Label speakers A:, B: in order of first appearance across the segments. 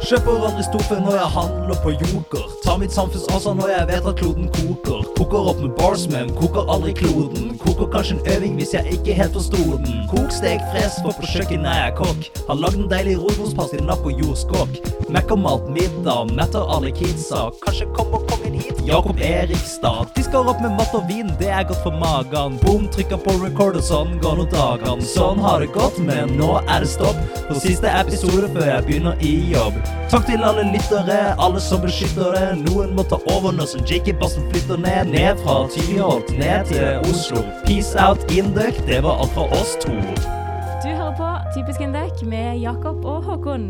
A: Kjøper aldri storfe når jeg handler på Joker. Tar mitt samfunnsansvar når jeg vet at kloden koker. Koker opp med bars, men koker aldri kloden. Koker kanskje en øving hvis jeg ikke helt forsto den. Kok, stek, fres, for på kjøkkenet er jeg kokk. Har lagd en deilig rotosparsilla på jordskokk. Mekker malt middag, metter alle kidsa. Kanskje kommer kongen hit, Jakob Erikstad. Disker opp med mat og vin, det er godt for magen. Boom, trykker på record, og sånn går nå dagene. Sånn har det gått, men nå er det stopp. For siste episode før jeg begynner i jobb. Takk til alle lyttere, alle som beskytter det. Noen må ta over nå som Jakey Bassen flytter ned. Ned fra Tyholt, ned til Oslo. Peace out, Indøk. Det var alt fra oss to.
B: Du hører på Typisk Indek med Jakob og Håkon.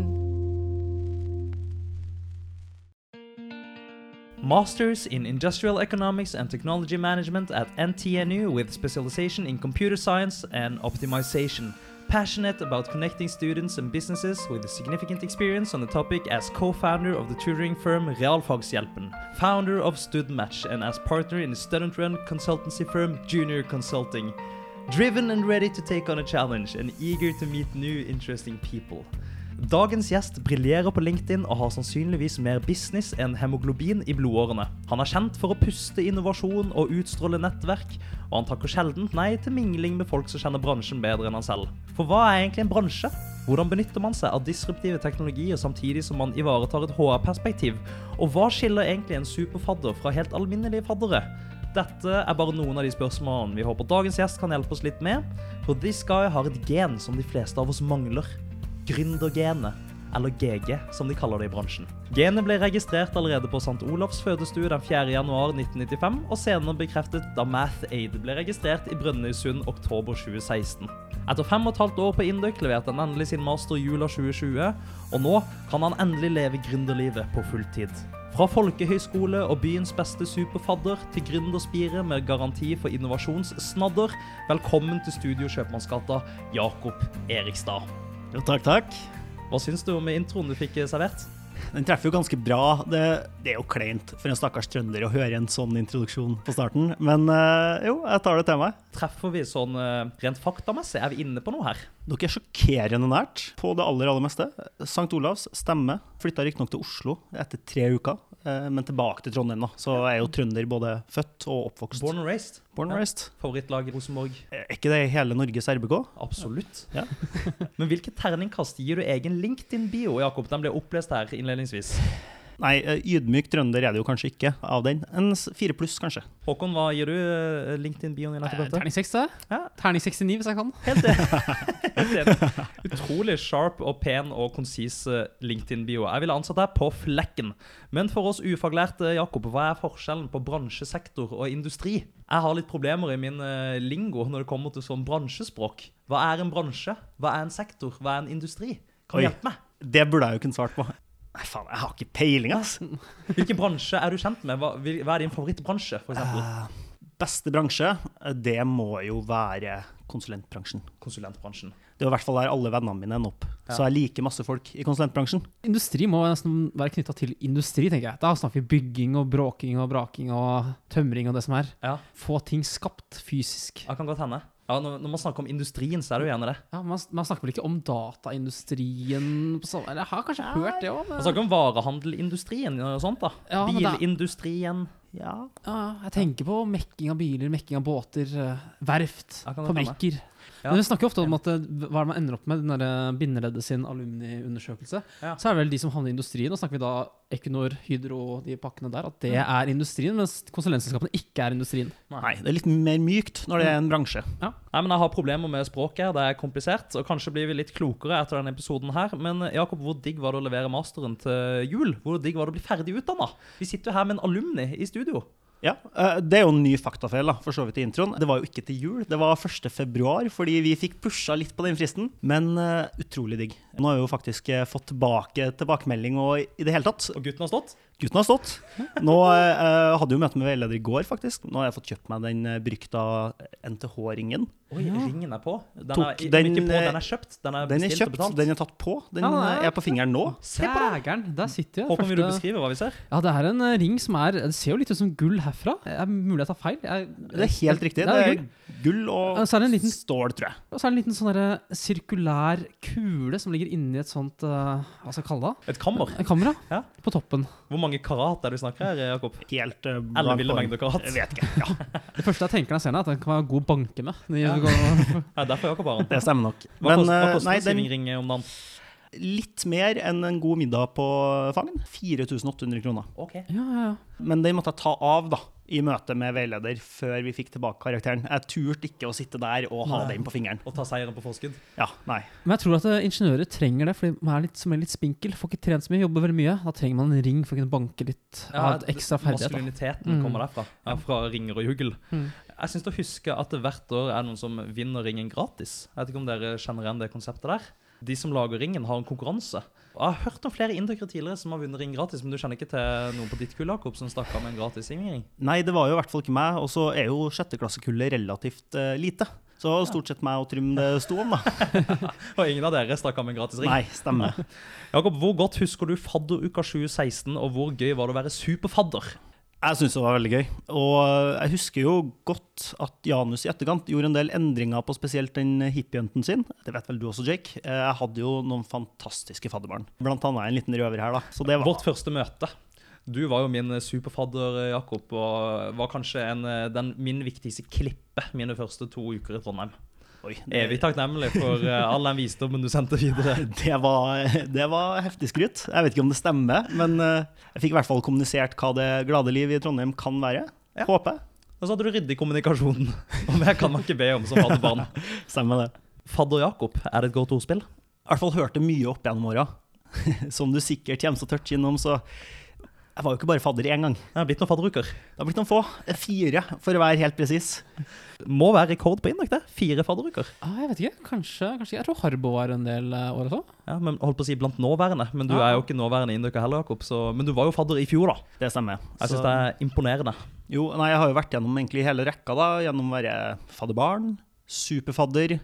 A: Masters in Industrial Economics and Technology Management at NTNU with specialization in computer science and optimization. Passionate about connecting students and businesses with significant experience on the topic as co founder of the tutoring firm Realfagshjelpen, founder of StudMatch, and as partner in the student run consultancy firm Junior Consulting. Driven and ready to take on a challenge and eager to meet new interesting people. Dagens gjest briljerer på LinkedIn og har sannsynligvis mer business enn hemoglobin i blodårene. Han er kjent for å puste innovasjon og utstråle nettverk, og han takker sjelden nei til mingling med folk som kjenner bransjen bedre enn han selv. For hva er egentlig en bransje? Hvordan benytter man seg av disruptive teknologier samtidig som man ivaretar et HR-perspektiv? Og hva skiller egentlig en superfadder fra helt alminnelige faddere? Dette er bare noen av de spørsmålene vi håper dagens gjest kan hjelpe oss litt med, for this guy har et gen som de fleste av oss mangler. Gründergenet, eller GG som de kaller det i bransjen. Genet ble registrert allerede på St. Olavs fødestue den 4. januar 1995, og senere bekreftet da MathAid ble registrert i Brønnøysund oktober 2016. Etter fem og et halvt år på Induc leverte han endelig sin master i jula 2020, og nå kan han endelig leve gründerlivet på fulltid. Fra folkehøyskole og byens beste superfadder til gründerspire med garanti for innovasjonssnadder, velkommen til Studio Kjøpmannsgata, Jakob Erikstad.
C: Jo, takk, takk.
A: Hva syns du om introen du fikk eh, servert?
C: Den treffer jo ganske bra. Det, det er jo kleint for en stakkars trønder å høre en sånn introduksjon på starten, men eh, jo, jeg tar det til meg.
A: Treffer vi sånn eh, rent faktamessig? Er vi inne på noe her?
C: Dere er sjokkerende nært på det aller aller meste. St. Olavs stemme. Flytta riktignok til Oslo etter tre uker, eh, men tilbake til Trondheim, da. Så jeg er jo trønder både født og oppvokst.
A: Born and raised.
C: Born and raised.
A: Favorittlag i Rosenborg?
C: Er ikke det hele Norges RBK?
A: Absolutt.
C: Ja.
A: Men hvilket terningkast gir du egen LinkedIn-bio, Jakob? Den ble opplest her innledningsvis.
C: Nei, eh, ydmyk trønder er det jo kanskje ikke av den. En s- fire pluss, kanskje.
A: Håkon, hva gir du eh, LinkedIn-bioen din etter
D: Eh,
A: dette?
D: Terning 6, da.
A: Ja.
D: Terning 69, hvis jeg kan.
A: Helt enig. Utrolig sharp og pen og konsis eh, LinkedIn-bio. Jeg ville ansatt deg på flekken. Men for oss ufaglærte, Jakob, hva er forskjellen på bransjesektor og industri? Jeg har litt problemer i min eh, lingo når det kommer til sånn bransjespråk. Hva er en bransje? Hva er en sektor? Hva er en industri? Kan du
C: Oi.
A: hjelpe meg?
C: Det burde jeg jo kunne svart på. Nei, faen, jeg har ikke peiling, ass.
A: Hvilken bransje er du kjent med? Hva, vil- hva er din favorittbransje, f.eks.?
C: Beste bransje, det må jo være konsulentbransjen.
A: Konsulentbransjen.
C: Det var i hvert fall der alle vennene mine ender opp. Så jeg liker masse folk i konsulentbransjen.
D: Industri må nesten være knytta til industri, tenker jeg. Da snakker vi bygging og bråking og braking og tømring og det som er.
A: Ja,
D: Få ting skapt fysisk.
A: det kan godt hende. Ja, når, når man snakker om industrien, så er det jo gjerne det.
D: Ja, man, man snakker vel ikke om dataindustrien på samme Eller jeg har kanskje hørt det òg, men
A: Man snakker om varehandelindustrien og sånt, da.
D: Ja, men det-
A: Bilindustrien.
C: Ja.
D: ja, jeg tenker på mekking av biler, mekking av båter, eh, verft,
A: Ja, kan det
D: fabrikker.
A: Ja.
D: Men vi snakker ofte om at eh, hva er det man ender opp med, den der eh, bindeleddet sin alumniundersøkelse.
A: Ja.
D: Så er det vel de som havner i industrien. Nå snakker vi da Equinor, Hydro og de pakkene der, at det er industrien, mens konsulentselskapene ikke er industrien.
C: Nei, det er litt mer mykt når det er en bransje.
A: Nei, men Jeg har problemer med språket. her, Det er komplisert. og Kanskje blir vi litt klokere etter denne episoden. her, Men eh, Jakob, hvor digg var det å levere masteren til jul? Hvor digg var det å bli ferdig utdanna? Vi sitter jo her med en alumni i studio.
C: Ja, eh, Det er jo en ny faktafeil, da, for så vidt i introen. Det var jo ikke til jul, det var 1. februar, fordi vi fikk pusha litt på den fristen. Men eh, utrolig digg. Nå har vi jo faktisk eh, fått tilbake tilbakemelding og i det hele tatt.
A: Og gutten har stått.
C: Gutten har stått. Nå eh, hadde jo møte med veileder i går, faktisk. Nå har jeg fått kjøpt meg den eh, brukta NTH-ringen.
A: Oi,
D: Ja.
A: ringen er på. Den
C: Tok
A: er, i-
C: den,
A: ikke på,
C: eh,
A: den er kjøpt. Den er
C: Den er
A: bestilt og
C: kjøpt,
A: betalt.
C: den er tatt på. Den
D: Ja, den er-
C: eh, er på fingeren nå.
D: Sægeren! Der sitter jeg.
A: Håper vi du
D: Første-
A: beskriver hva vi ser.
D: Ja, det er en eh, ring som er Det ser jo litt ut som gull herfra. Er det mulig jeg tar feil? Jeg,
C: Det er helt riktig. Det er gull og
D: Og så er det en liten,
C: stål, tror jeg.
D: og så er det en liten sånn derre sirkulær kule som ligger inni et sånt eh, Hva skal jeg kalle det?
A: Et kammer.
D: En kamera
A: Ja.
D: på toppen.
A: Hvor mange karat er det vi snakker her, Jakob?
C: Helt eh,
A: Eller ville
C: blank
A: mengder karat.
C: Jeg vet ikke. Ja,
D: Det første jeg tenker når jeg ser den, er at den kan være god å banke med. Den
A: Ja.
D: går- Ja.
A: Ja, derfor Jakob har den.
C: det stemmer nok.
A: Hva
C: Men
A: kost- hva
C: eh,
A: koster
C: nei,
A: en
C: den
A: sivingring om dagen?
C: litt mer enn en god middag på Fagn. 4800 kroner.
A: Ok.
D: ja, ja.
C: Men den måtte jeg ta av da, i møte med veileder før vi fikk tilbake karakteren. Jeg turte ikke å sitte der og ha
A: Nei.
C: den på fingeren.
A: Og ta seieren på forskudd.
C: Ja, nei.
D: Men jeg tror at eh, ingeniører trenger det, fordi man er litt, som er litt spinkel. Får ikke trent så mye, jobber veldig mye. Da trenger man en ring for å kunne banke litt. ha et ekstra ferdighet. da.
A: Maskuliniteten
D: Mm.
A: kommer derfra. Ja, fra ringer og jugl.
D: Mm.
A: Jeg syns å huske at det hvert år er noen som vinner ringen gratis. Jeg vet ikke om dere kjenner igjen det konseptet der. De som lager ringen, har en konkurranse. Og jeg har hørt om flere indere tidligere som har vunnet ring gratis, men du kjenner ikke til noen på ditt kull, Jakob, som stakk av med en gratis ringring?
C: Nei, det var jo i hvert fall ikke meg, og så er jo sjetteklassekullet relativt eh, lite. Så det var stort sett meg og Trym det sto om, da.
A: Og ingen av dere stakk av med en gratis ring.
C: Nei, stemmer.
A: Jakob, hvor godt husker du fadderuka 2016, og hvor gøy var det å være superfadder?
C: Jeg syns det var veldig gøy. Og eh, jeg husker jo godt at Janus i etterkant gjorde en del endringer på spesielt den hippiejenten sin. Det vet vel du også, Jake. Eh, Jeg hadde jo noen fantastiske fadderbarn. Blant annet en liten røver her, da. Så det var
A: Vårt første møte. Du var jo min superfadder, Jakob, og var kanskje en, eh, den, min viktigste klippe mine første to uker i Trondheim.
C: Oi,
A: Evig takknemlig for eh, all den visdommen du sendte videre.
C: Det var, det var heftig skryt. Jeg vet ikke om det stemmer, men eh, jeg fikk i hvert fall kommunisert hva det glade liv i Trondheim kan være.
A: Ja.
C: Håper jeg.
A: Og så hadde du ryddig kommunikasjon. Og det kan man ikke be om som fadderbarn.
C: Stemmer det.
A: Fadder Jakob, er det et godt ordspill?
C: I hvert fall hørte mye opp gjennom åra. Som du sikkert kommer så tørt innom, så jeg var jo ikke bare fadder én gang.
A: Jeg har blitt noen fadderuker.
C: Det har blitt noen få. Fire, for å være helt presis.
A: Må være rekord på Indok, det. Fire fadderuker.
D: Ah, jeg vet ikke. Kanskje, kanskje Jeg tror Harbo var en del eh, år også.
A: Ja, men holdt på å si blant nåværende, men du
D: Ja.
A: er jo ikke nåværende indoker heller, Jakob. Så, men du var jo fadder i fjor, da.
C: Det stemmer.
A: Jeg
C: Så-
A: syns det er imponerende.
C: Jo, nei, jeg har jo vært gjennom egentlig hele rekka, da. Gjennom å være fadderbarn, superfadder,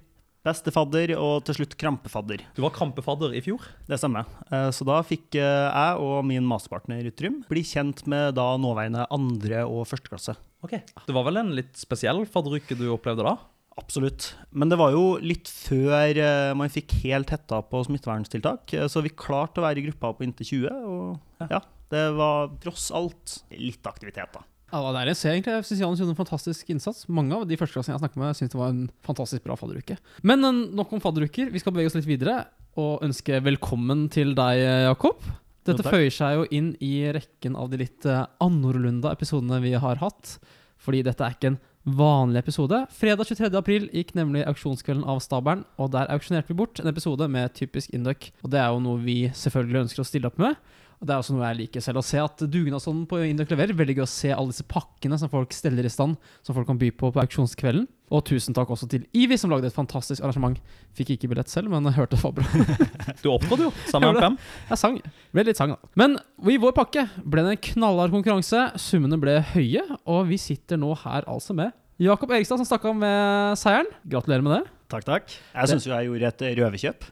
C: bestefadder og til slutt krampefadder.
A: Du var krampefadder i fjor.
C: Det stemmer. Eh, Så da fikk eh, jeg og min masterpartner Trym bli kjent med da nåværende andre- og førsteklasse.
A: Ok. Det var vel en litt spesiell fadderuke du opplevde da?
C: Absolutt. Men det var jo litt før eh, man fikk helt hetta på smitteverntiltak, eh, så vi klarte å være i gruppa på inntil 20. Og ja, det var tross alt litt aktivitet, da.
D: Ja, det var deilig å se, egentlig. Jeg synes Janus gjorde en fantastisk innsats. Mange av de førsteklassene jeg snakket med, syntes det var en fantastisk bra fadderuke. Men eh, nok om fadderuker. Vi skal bevege oss litt videre og ønske velkommen til deg, eh, Jakob.
C: Jo,
D: Dette
C: takk.
D: føyer seg jo inn i rekken av de litt eh, annorlunda episodene vi har hatt. Fordi dette er ikke en vanlig episode. Fredag 23. april gikk nemlig auksjonskvelden av Stabelen, og der auksjonerte vi bort en episode med typisk Induc. Og det er jo noe vi selvfølgelig ønsker å stille opp med. Og Det er også noe jeg leker selv å se, at dugnadsånden på Indøk leverer. Veldig gøy å se alle disse pakkene som folk steller i stand, som folk kan by på på auksjonskvelden. Og tusen takk også til Ivi, som lagde et fantastisk arrangement. Fikk ikke billett selv, men hørte det var bra.
A: Du opptrådte jo sammen med fem.
D: Jeg sang. Ble litt sang, da. Men i vår pakke ble det en knallhard konkurranse. Summene ble høye, og vi sitter nå her altså med Jakob Erikstad, som stakk av med seieren. Gratulerer med det.
C: Takk, takk. Jeg syns jo jeg gjorde et røverkjøp.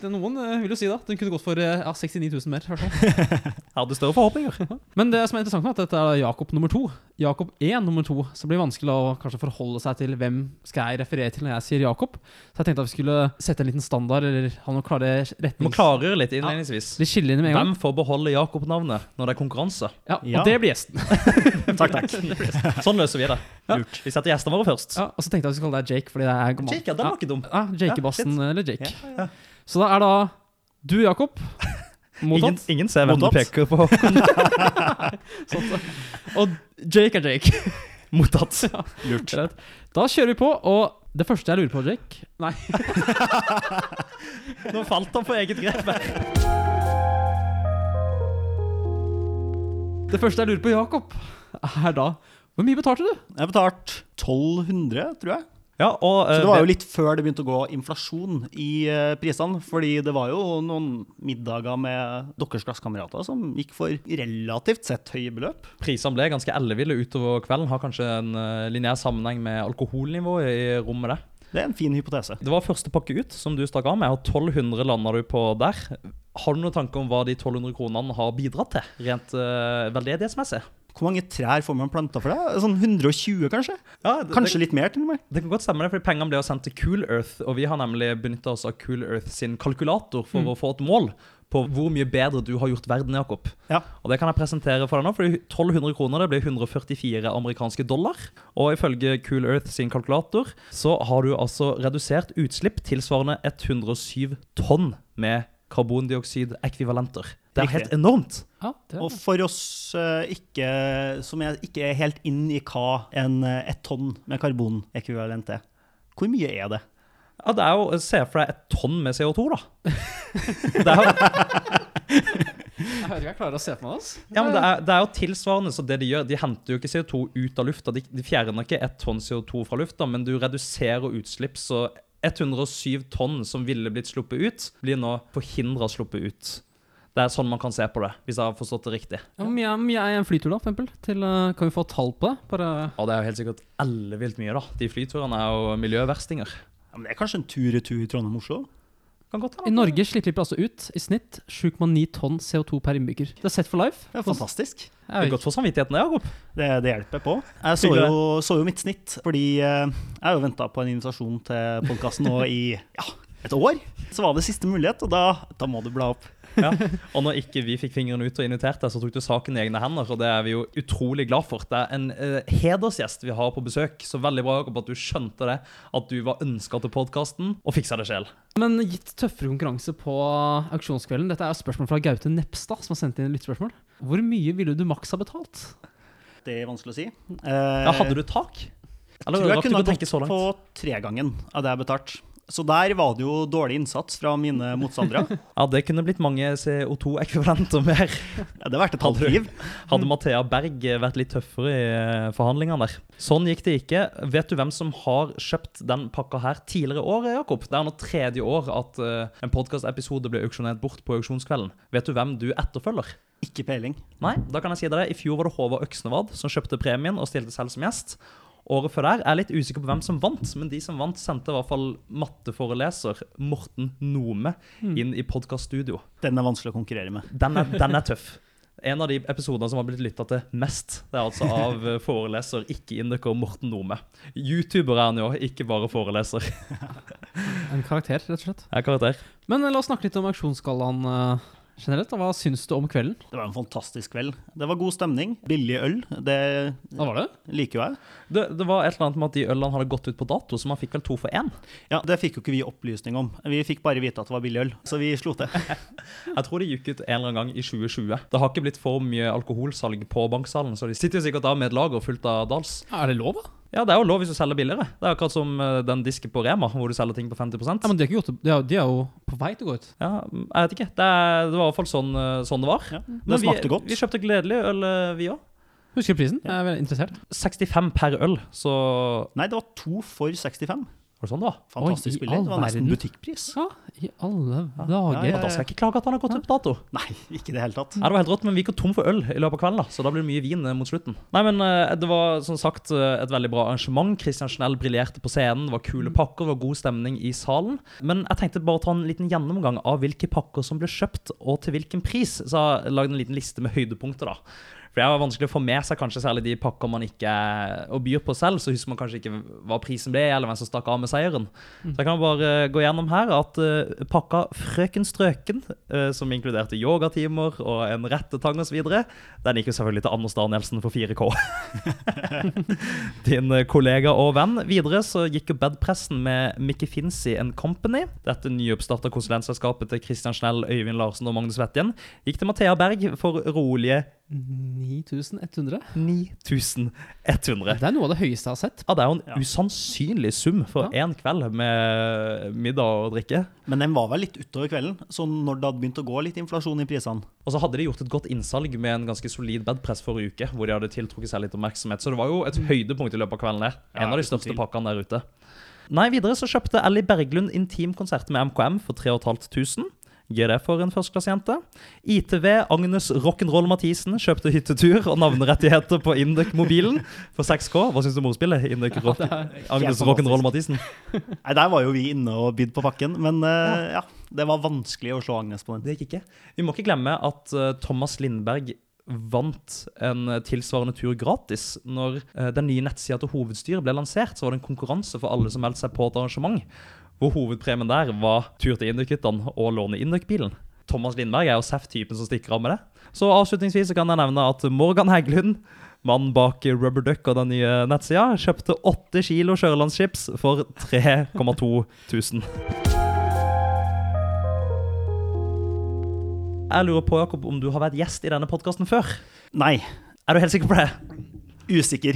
D: det er noen eh, vil jo si da, den kunne gått for eh, ja, 69 000 mer. i hvert fall.
A: Jeg hadde større forhåpninger.
D: Men det som er interessant, er at dette er Jakob nummer to. Jakob 1 nummer to. Så det blir vanskelig å kanskje forholde seg til hvem skal jeg referere til når jeg sier Jakob. Så jeg tenkte at vi skulle sette en liten standard, eller ha noen klare
A: Du må
D: retnings...
A: klargjøre litt innledningsvis.
D: Litt skillelinjer med en gang.
A: Hvem får beholde Jakob-navnet når det er konkurranse?
D: Ja, og
C: Ja.
D: det blir gjesten.
C: Takk, takk.
A: Sånn løser vi det.
D: Ja.
A: Lurt. Vi setter gjestene våre først.
D: Ja, og så tenkte jeg at vi skulle kalle deg Jake, fordi det er gammel.
A: Jake, ja, den var ikke dum.
D: Ja, Jake-bassen,
A: Ja,
D: eller Jake. Så da er da du, Jakob.
A: Ingen,
D: Mottatt.
A: ingen ser hvem du
C: Mottatt.
A: peker på.
D: Sånn. Og Jake er Jake.
A: Mottatt.
C: Lurt.
D: Greit. Da kjører vi på, og det første jeg lurer på, Jake Nei.
A: Nå falt han på eget grep. her.
D: Det første jeg lurer på, Jakob, er da Hvor mye betalte du?
C: Jeg betalte 1200, tror jeg.
A: Ja, og eh,
C: Så det var jo litt før det begynte å gå inflasjon i eh, prisene. Fordi det var jo noen middager med deres klassekamerater som gikk for relativt sett høye beløp.
A: Prisene ble ganske elleville utover kvelden. Har kanskje en eh, lineær sammenheng med alkoholnivået i rommet der.
C: Det er en fin hypotese.
A: Det var første pakke ut, som du stakk av med. Og 1200 landa du på der. Har du noen tanke om hva de 1200 kronene har bidratt til, rent eh, veldedighetsmessig?
C: Hvor mange trær får man planta for det? Sånn 120, kanskje?
A: Ja, det,
C: Kanskje litt mer, til og med.
A: Det kan godt stemme, det, fordi pengene ble jo sendt til Cool Earth, og vi har nemlig benytta oss av Cool Earth sin kalkulator for
C: Mm.
A: å få et mål på hvor mye bedre du har gjort verden, Jakob.
C: Ja.
A: Og det kan jeg presentere for deg nå, fordi 1200 kroner det blir 144 amerikanske dollar. Og ifølge Cool Earth sin kalkulator så har du altså redusert utslipp tilsvarende 107 tonn med karbondioksidekvivalenter. Det er
C: Riktig.
A: helt enormt.
D: Ja, det
C: Og for oss eh, ikke, som er, ikke er helt inn i hva en eh, ett tonn med karbonekvivalent er, hvor mye er det?
A: Ja, det er jo, Se for deg et tonn med CO2, da. Det er jo
D: Jeg hører ikke jeg klarer å se på meg. Altså.
A: Ja, men det er, det er jo tilsvarende, så det de gjør, de henter jo ikke CO2 ut av lufta. De, de fjerner ikke ett tonn CO2 fra lufta, men du reduserer utslipp, så 107 tonn som ville blitt sluppet ut, blir nå forhindra sluppet ut. Det er sånn man kan se på det, hvis jeg har forstått det riktig.
D: Ja, Hvor mye er- hvor mye er en flytur, da? For eksempel, til, eh, kan vi få tall på det? Bare
A: Og det er jo helt sikkert ellevilt mye, da. De flyturene er jo miljøverstinger.
C: Ja, men det er kanskje en tur-retur Trondheim-Oslo?
A: Kan godt
D: I Norge slipper vi altså ut i snitt 7,9 tonn CO2 per innbygger. Det er set for life.
C: Det er fantastisk.
A: Det er godt for samvittigheten, det, Jakob.
C: Det, det hjelper på. Jeg så
A: Hyggelig.
C: jo, så jo mitt snitt, fordi eh, jeg har jo venta på en invitasjon til podkasten nå i ja, et år. Så var det siste mulighet, og da, da må du bla opp.
A: Ja. Og når ikke vi fikk fingrene ut og inviterte deg, så tok du saken i egne hender, og det er vi jo utrolig glad for. Det er en eh, hedersgjest vi har på besøk, så veldig bra Jakob, at du skjønte det, at du var ønska til podkasten, og fiksa det sjel.
D: Men gitt tøffere konkurranse på auksjonskvelden Dette er jo spørsmål fra Gaute Nepstad, som har sendt inn lyttespørsmål. Hvor mye ville du maks ha betalt?
C: Det er vanskelig å si. Eh,
A: Ja, hadde du tak? Eller
C: tror jeg
A: rakk du
C: kunne
A: ikke å
C: ha
A: tenke så
C: gått på
A: langt?
C: tregangen av det jeg betalte. Så der var det jo dårlig innsats fra mine motstandere.
A: Ja, det kunne blitt mange CO2-ekvivalenter mer.
C: Ja, det har vært et halvt liv.
A: Hadde Mathea Berg vært litt tøffere i eh, forhandlingene der. Sånn gikk det ikke. Vet du hvem som har kjøpt den pakka her tidligere i år, Jakob? Det er nå tredje år at eh, en podkastepisode ble auksjonert bort på auksjonskvelden. Vet du hvem du etterfølger?
C: Ikke peiling.
A: Nei, da kan jeg si deg det. I fjor var det Håvard Øksnevad som kjøpte premien og stilte selv som gjest. Året før der er jeg litt usikker på hvem som vant, men de som vant, sendte i hvert fall matteforeleser Morten Nome inn i podkaststudio.
C: Den er vanskelig å konkurrere med.
A: Den er, den er tøff. En av de episodene som har blitt lytta til mest, det er altså av eh, foreleser, ikke inderker Morten Nome. Youtuber er han jo, ikke bare foreleser.
D: En karakter, rett og slett.
A: Jeg er karakter.
D: Men eh, la oss snakke litt om auksjonsgallaen eh, generelt. da. Hva syns du om kvelden?
C: Det var en fantastisk kveld. Det var god stemning. Billig øl. Det
D: Da var det?
C: liker jo jeg.
A: Det, det var et eller annet med at de ølene hadde gått ut på dato, så man fikk vel to for én.
C: Ja, Det fikk jo ikke vi opplysning om. Vi fikk bare vite at det var billig øl, så vi slo til.
A: Jeg tror de gikk ut en eller annen gang i 2020. Det har ikke blitt for mye alkoholsalg på banksalen, så de sitter jo sikkert av med et lager fullt av Dals.
D: Ja, er det lov, da?
A: Ja, det er jo lov hvis du selger billigere. Det er akkurat som eh, den disken på Rema, hvor du selger ting på 50
D: Ja, men de er, ikke gjort, det- de er, de er jo på vei til å gå ut.
A: Ja, mm, jeg vet ikke. Det, er, det var i hvert fall sånn, eh, sånn det var.
C: Ja,
A: Men
C: det smakte
A: vi,
C: godt.
A: Vi kjøpte gledelig øl, eh, vi òg.
D: Husker du prisen? Jeg er veldig interessert.
A: 65 per øl, så
C: Nei, det var to for 65.
A: Var det sånn det var?
C: Fantastisk
D: Oi, i
C: billig.
D: all
C: Det var nesten
D: verden.
C: butikkpris.
D: Ja, i alle
C: ja,
D: dager.
A: Ja, Mm. da skal jeg ikke klage at han har gått ut på dato.
C: Nei, ikke i det hele tatt.
A: Ja, det var helt rått, men vi gikk jo tom for øl i løpet av kvelden, da, så da blir det mye vin eh, mot slutten. Nei, men eh, Det var som sagt eh, et veldig bra arrangement. Christian Schnell briljerte på scenen, det var kule pakker, det var god stemning i salen. Men jeg tenkte bare å ta en liten gjennomgang av hvilke pakker som ble kjøpt, og til hvilken pris. Så jeg lagde en liten liste med høydepunkter, da. For det er jo vanskelig å få med seg kanskje særlig de pakker man ikke er- og byr på selv, så husker man kanskje ikke hva prisen ble, eller hvem som stakk av med seieren. Så jeg kan bare eh, gå gjennom her at eh, pakka Frøken Strøken, eh, som inkluderte yogatimer og en rettetang osv., den gikk jo selvfølgelig til Anders Danielsen for 4K. Din eh, kollega og venn. Videre så gikk jo bedpressen med Mickey Finzi and Company, dette nyoppstarta konsulentselskapet til Christian Schnell, Øyvind Larsen og Magnus Wettjen, gikk til Mathea Berg for rolige
D: 9100?
A: 9100.
D: Det er noe av det høyeste jeg har sett.
A: Ja, det er jo en
C: Ja.
A: usannsynlig sum for én kveld med middag og drikke.
C: Men den var vel litt utover kvelden, så når det hadde begynt å gå litt inflasjon i prisene
A: Og så hadde de gjort et godt innsalg med en ganske solid bedpress forrige uke, hvor de hadde tiltrukket seg litt oppmerksomhet. Så det var jo et høydepunkt i løpet av kvelden der. En
C: Ja,
A: av de
C: uten
A: største
C: tvil.
A: pakkene der ute. Nei, videre så kjøpte Ellie Berglund intimkonsert med MKM for 3500. Gøy det for en førsteklassejente. ITV Agnes Rock'n'Roll Mathisen kjøpte hyttetur og navnerettigheter på Induk-mobilen for 6K. Hva syns du om ordspillet? Induk rock Agnes
C: fantastisk.
A: Rock'n'Roll Mathisen.
C: Nei, Der var jo vi inne og bydde på pakken, men eh, ja. Det var vanskelig å slå Agnes på den.
A: Det gikk ikke. Vi må ikke glemme at eh, Thomas Lindberg vant en eh, tilsvarende tur gratis. Når eh, den nye nettsida til hovedstyret ble lansert, så var det en konkurranse for alle som meldte seg på et arrangement, hvor hovedpremien der var tur til Induk-hyttene og låne Induk-bilen. Thomas Lindberg er jo SEF-typen som stikker av med det. Så avslutningsvis så kan jeg nevne at Morgan Heggelund, mannen bak Rubber Duck og den nye nettsida, kjøpte åtte kilo Sørlandschips for 3,2 tusen. Jeg lurer på, Jakob, om du har vært gjest i denne podkasten før?
C: Nei,
A: Er du helt sikker på det?
C: usikker.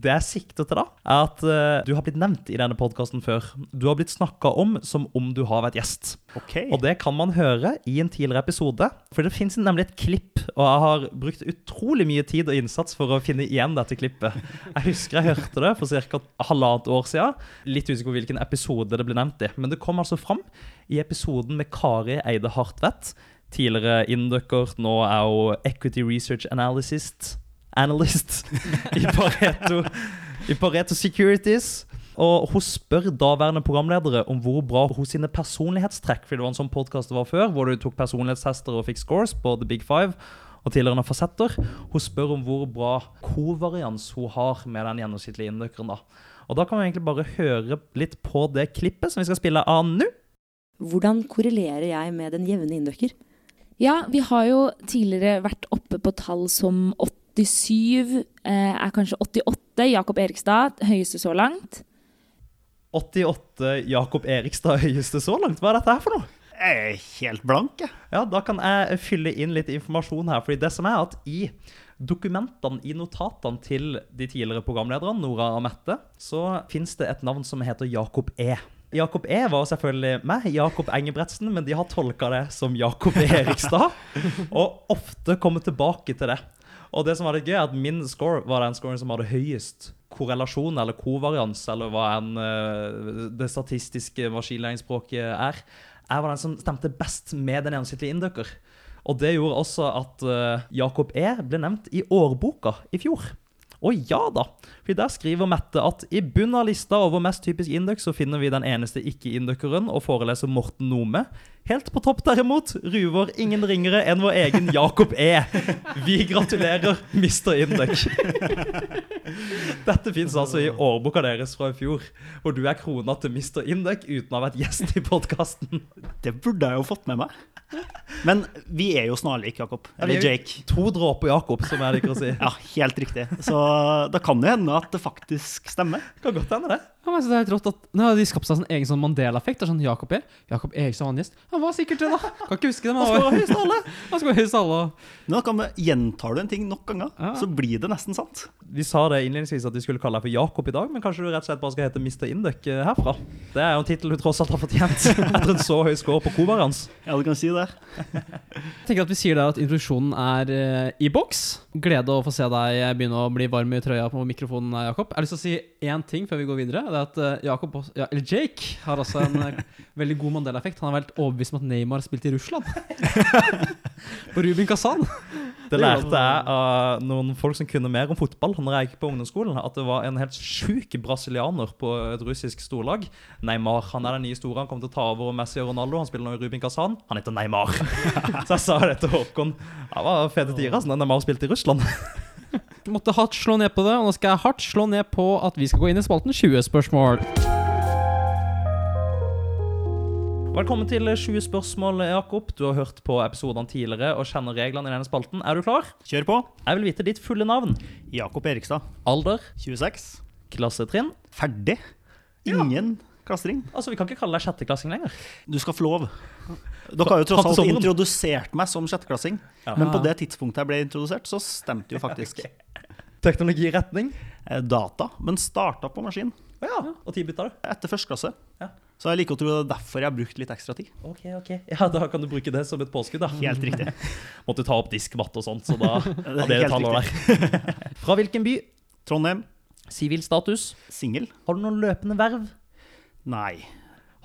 A: Det jeg sikter til, da, er at eh, du har blitt nevnt i denne podkasten før. Du har blitt snakka om som om du har vært gjest.
C: Ok.
A: Og det kan man høre i en tidligere episode, for det fins nemlig et klipp. Og jeg har brukt utrolig mye tid og innsats for å finne igjen dette klippet. Jeg husker jeg hørte det for ca. halvannet år siden. Litt usikker på hvilken episode det ble nevnt i. Men det kom altså fram i episoden med Kari Eide Hartvedt. Tidligere Inducker, nå er hun Equity Research Analyst, analyst i Pareto, i Pareto Securities. Og hun spør daværende programledere om hvor bra hun sine personlighetstrekk For det var en sånn podkast det var før, hvor du tok personlighetstester og fikk scores på The Big Five. Og tidligere fasetter. Hun spør om hvor bra kovarians hun har med den gjennomsnittlige indøkeren. da. Og da kan vi egentlig bare høre litt på det klippet som vi skal spille av nå.
E: Hvordan korrelerer jeg med den jevne inndøkker?
F: Ja, vi har jo tidligere vært oppe på tall som 87, eh, er kanskje 88, Jakob Erikstad, høyeste så langt.
A: 88 Jakob Erikstad høyeste så langt. Hva er dette her for noe?
C: Jeg er helt blank, jeg.
A: Ja, da kan jeg fylle inn litt informasjon her. fordi det som er at i dokumentene, i notatene til de tidligere programlederne, Nora og Mette, så fins det et navn som heter Jakob E. Jakob E var selvfølgelig meg, Jakob Engebretsen, men de har tolka det som Jakob E. Erikstad. Og ofte kommer tilbake til det. Og det som var litt gøy, er at min score var den scoren som hadde høyest korrelasjon, eller kovarians, eller hva enn eh, det statistiske maskinlæringsspråket er. Jeg var den som stemte best med den gjennomsnittlige inndøkker. Og det gjorde også at eh, Jakob E. ble nevnt i årboka i fjor. Og ja da, for der skriver Mette at i bunnen av lista over mest typisk indøk, så finner vi den eneste ikke-indøkeren og foreleser Morten Nome. Helt på topp derimot, ruver ingen ringere enn vår egen Jakob E. Vi gratulerer, Mr. Indøk. Dette fins altså i årboka deres fra i fjor, hvor du er krona til Mr. Indøk uten å ha vært gjest i podkasten.
C: Det burde jeg jo fått med meg. Men vi er jo snarlik, Jakob.
A: Ja, vi er
C: Eller
A: jo-
C: Jake.
A: To dråper Jakob, som jeg liker å si.
C: Ja, helt riktig. Så da kan det hende at det faktisk stemmer.
A: Kan godt hende, det.
D: Ja, men jeg synes det er helt rått at nå har de skapt seg en egen sånn Mandela-effekt. Det er Sånn Jakob E. Jakob Eriksson var en gjest. Han var sikkert det, da! Kan ikke huske det, men han var høyest av alle. Han skal være høyest av alle.
C: Men da kan vi, Gjentar du en ting nok ganger,
D: Ja.
C: så blir det nesten sant.
A: Vi sa det innledningsvis at vi skulle kalle deg for Jakob i dag, men kanskje du rett og slett bare skal hete Mr. Induck eh, herfra? Det er jo en tittel du tross alt har fortjent etter en så høy score på Kovarans.
C: Ja, du kan si det.
D: Jeg tenker at vi sier der at introduksjonen er eh, i boks. Glede å få se deg begynne å bli varm i trøya på mikrofonen, eh, Jakob. Jeg har lyst til å si én ting før vi går videre. Det er at eh, Jakob, også- ja, eller Jake har også en eh, veldig god Mandela-effekt. Han er helt overbevist om at Neymar spilte i Russland. på Rubin Kazan.
A: Det lærte jeg av noen folk som kunne mer om fotball når jeg gikk på ungdomsskolen, at det var en helt sjuk brasilianer på et russisk storlag. Neymar. Han er den nye store. Han kommer til å ta over Messi og Ronaldo. Han spiller nå i Rubin Kazan. Han heter Neymar. Så jeg sa det til Håkon. Det var fete tider, altså. når Neymar spilte i Russland.
D: Måtte hardt slå ned på det, og nå skal jeg hardt slå ned på at vi skal gå inn i spalten 20 spørsmål.
A: Velkommen til 20 spørsmål, Jakob. Du har hørt på episodene tidligere og kjenner reglene i denne spalten. Er du klar?
C: Kjør på.
A: Jeg vil vite ditt fulle navn.
C: Jakob Erikstad,
A: Alder,
C: 26.
A: klassetrinn.
C: Ferdig. Ingen klastring.
A: Altså, Vi kan ikke kalle deg sjetteklassing lenger.
C: Du skal få lov. Dere har jo
A: Fram
C: tross
A: til
C: alt
A: sommeren.
C: introdusert meg som sjetteklassing,
A: Ja.
C: men på det tidspunktet jeg ble introdusert, så stemte jo faktisk
A: Teknologiretning.
C: eh, data, men starta på maskin
A: Ja, Og tidbytta, du.
C: etter første klasse.
A: Ja.
C: Så jeg liker å tro det er derfor jeg har brukt litt ekstra tid.
A: Ok, ok. Ja, Da kan du bruke det som et påskudd. da.
C: Helt riktig.
A: Måtte ta opp diskmatt og sånt, så da
C: er
A: av det
C: helt
A: tallet der. Fra hvilken by?
C: Trondheim,
A: Sivil status.
C: singel.
A: Har du noen løpende verv?
C: Nei.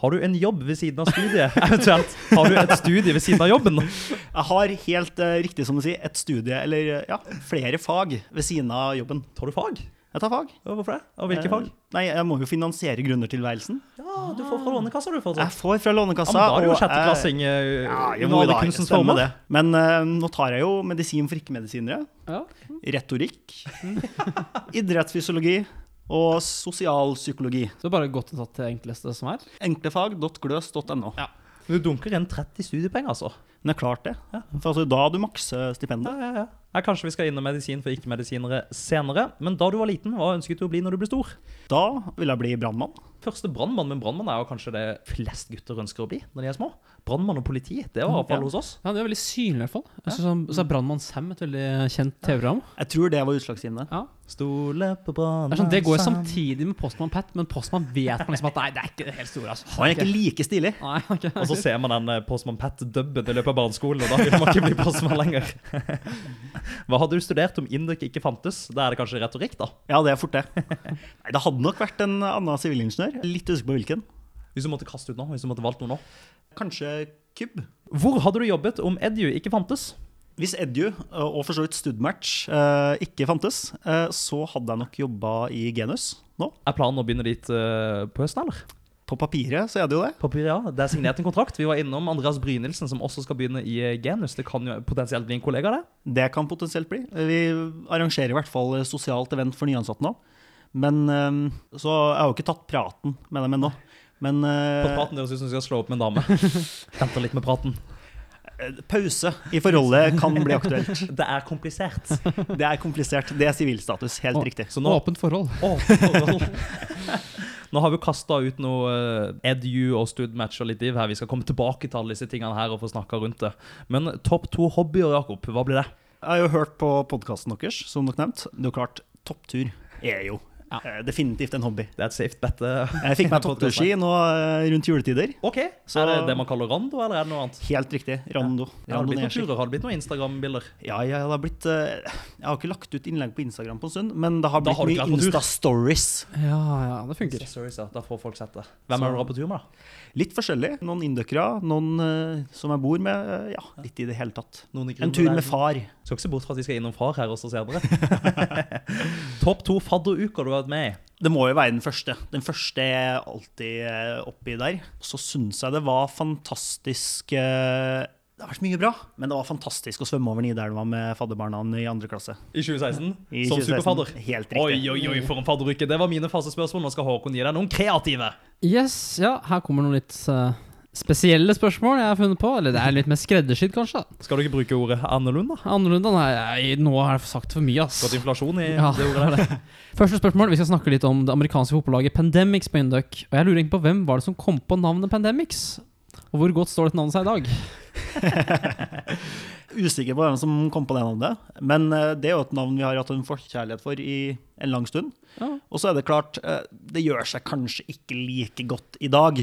A: Har du en jobb ved siden av studiet? Eventuelt har du et studie ved siden av jobben?
C: Jeg har helt eh, riktig som du sier, et studie, eller eh, ja, flere fag ved siden av jobben.
A: Tar du fag?
C: Jeg tar fag.
A: Ja, Hvorfor det? Og hvilke
C: Eh,
A: fag?
C: Nei, Jeg må jo finansiere grunnertilværelsen.
A: Ja, du får fra Lånekassa, du. får
C: Jeg
A: sånn.
C: får fra
A: Ja,
C: Lånekassa.
A: men da er du jo
C: og jeg-
A: sjetteklassing.
C: Ja,
A: eh,
C: jo,
A: under alle
C: da,
A: kunstens
C: stemmer
A: former.
C: det. Men eh, nå tar jeg jo medisin for ikke-medisinere.
D: Ja.
C: Retorikk. idrettsfysiologi. Og sosialpsykologi.
D: Så bare godt tatt til enkleste som er.
C: Enklefag.gløs.no.
A: Du dunker inn 30 studiepenger, altså.
C: Men det er klart det. For altså, da du makser stipendet.
A: Ja, ja, ja. Her, kanskje vi skal innom medisin for ikke-medisinere senere. Men da du var liten, hva ønsket du å bli når du ble stor?
C: Da vil jeg bli brannmann.
A: Første brannmann, men brannmann er jo kanskje det flest gutter ønsker å bli når de er små. Brannmann og politi, det var
C: Mm, Ja.
A: iallfall hos oss.
D: Ja, det er veldig synlig, i hvert fall. Jeg synes, han- så er Brannmann Sam et veldig kjent TV-program.
C: Jeg tror det var utslagsgivende.
D: Ja.
A: Stole på
D: Det,
A: brannmann
D: er sånn, det går samtidig med Postmann Pat, men Postmann vet man liksom at nei, det er ikke det helt store. Altså.
C: Han er ikke like stilig.
D: Nei, ok.
A: Og så ser man den eh, Postmann Pat-dubben i løpet av barneskolen, og da vil man ikke bli postmann lenger. Hva hadde du studert om Induk ikke fantes? Da er det kanskje retorikk, da?
C: Ja, det er fort det. Nei, det hadde nok vært en annen sivilingeniør. Litt usikker på hvilken.
A: Hvis du måtte kaste ut noe, hvis du måtte valgt noe nå.
C: Kanskje Kubb.
A: Hvor hadde du jobbet om Edu ikke fantes?
C: Hvis Edu og for så vidt Studmatch eh, ikke fantes, eh, så hadde jeg nok jobba i Genus nå.
A: Er planen å begynne dit eh, på høsten, eller?
C: På papiret så er det jo det.
A: Papir, ja. Det er signert en kontrakt. Vi var innom Andreas Brynildsen, som også skal begynne i eh, Genus. Det kan jo potensielt bli en kollega, det.
C: Det kan potensielt bli. Vi arrangerer i hvert fall sosialt event for nyansatte nå. Men eh, Så jeg har jo ikke tatt praten med dem ennå. Men
A: På
C: eh,
A: praten deres syns vi skal slå opp med en dame. Venter litt med praten.
C: pause i forholdet kan bli aktuelt.
A: Det er komplisert.
C: Det er komplisert. Det er sivilstatus. Helt
D: Å,
C: riktig.
A: Så nå
D: Åpent forhold.
A: Å, forhold. Nå har vi kasta ut noe eh, edu og studmatch og litt div her. Vi skal komme tilbake til alle disse tingene her og få snakka rundt det. Men topp to hobbyer, Jakob, hva blir det?
C: Jeg har jo hørt på podkasten deres, som dere nevnte. Det er jo klart, topptur er jo eh, definitivt en hobby.
A: Det er et safe bet. eh.
C: Jeg fikk meg toppturski nå eh, rundt juletider.
A: OK.
C: Så-
A: er det det man kaller rando, eller er det noe annet?
C: Helt riktig. Rando.
A: Ja, har det
C: Rando
A: blitt noen
C: nedskikk.
A: turer? Har det blitt noen Instagram-bilder?
C: Ja, ja, det har blitt eh, Jeg har ikke lagt ut innlegg på Instagram på en stund, men det har
A: Da
C: blitt
A: har du
C: mye
A: ikke vært på tur.
C: Insta-stories.
D: Ja, ja, det funker.
A: Sorry, sir. Da får folk sett det. Hvem er det du har på tur med, da?
C: Litt forskjellig. Noen indøkere, noen eh, som jeg bor med. eh, ja, litt i det hele tatt.
A: Noen i
C: En
A: grunnen
C: tur
A: der?
C: med far.
A: Skal ikke se bort fra at vi skal innom far her også senere. Topp to fadderuker du har vært med i?
C: Det må jo være den første. Den første er alltid eh, oppi der. Så syns jeg det var fantastisk eh, Det har vært mye bra, men det var fantastisk å svømme over Nidelva med fadderbarna i andre klasse.
A: I 2016?
C: I
A: som
C: 2016.
A: superfadder?
C: Helt
A: Oi,
C: riktig.
A: oi, oi, for en fadderuke. Det var mine faste spørsmål. Nå skal Håkon gi deg noen kreative.
D: Yes, ja, her kommer noen litt eh, spesielle spørsmål jeg har funnet på. Eller det er litt mer skreddersydd, kanskje. da.
A: Skal du ikke bruke ordet annerledes, da?
D: Annerledes. Nei, jeg, nå har jeg sagt for mye, ass.
A: Gått inflasjon i
D: Ja,
A: det ordet der.
D: det. Første spørsmål. Vi skal snakke litt om det amerikanske fotballaget Pandemics på Induc. Og jeg lurer egentlig på hvem var det som kom på navnet Pandemics? Og hvor godt står dette navnet seg i dag?
C: Usikker på hvem som kom på det navnet, men eh, det er jo et navn vi har hatt en forkjærlighet for i en lang stund.
D: Ja.
C: Og så er det klart, eh, det gjør seg kanskje ikke like godt i dag.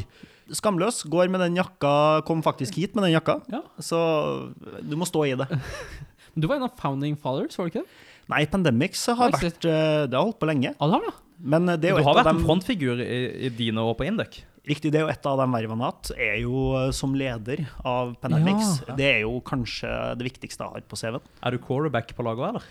C: Skamløs går med den jakka, kom faktisk hit med den jakka,
D: Ja.
C: så du må stå i det.
D: Du var en av founding fathers, var du ikke det?
C: Nei, Pandemics har
D: Oi, shit.
C: vært eh, Det har holdt på lenge,
D: Ja, det har du. ja.
C: men eh, det er jo
A: Du har
C: et av
A: vært en
C: dem-
A: frontfigur i, i dine år på Induc.
C: Riktig, det er jo et av de vervene jeg har hatt, er jo eh, som leder av Pandemics.
D: Ja.
C: Det er jo kanskje det viktigste jeg har på CV-en.
A: Er du quarterback på laget òg, eller?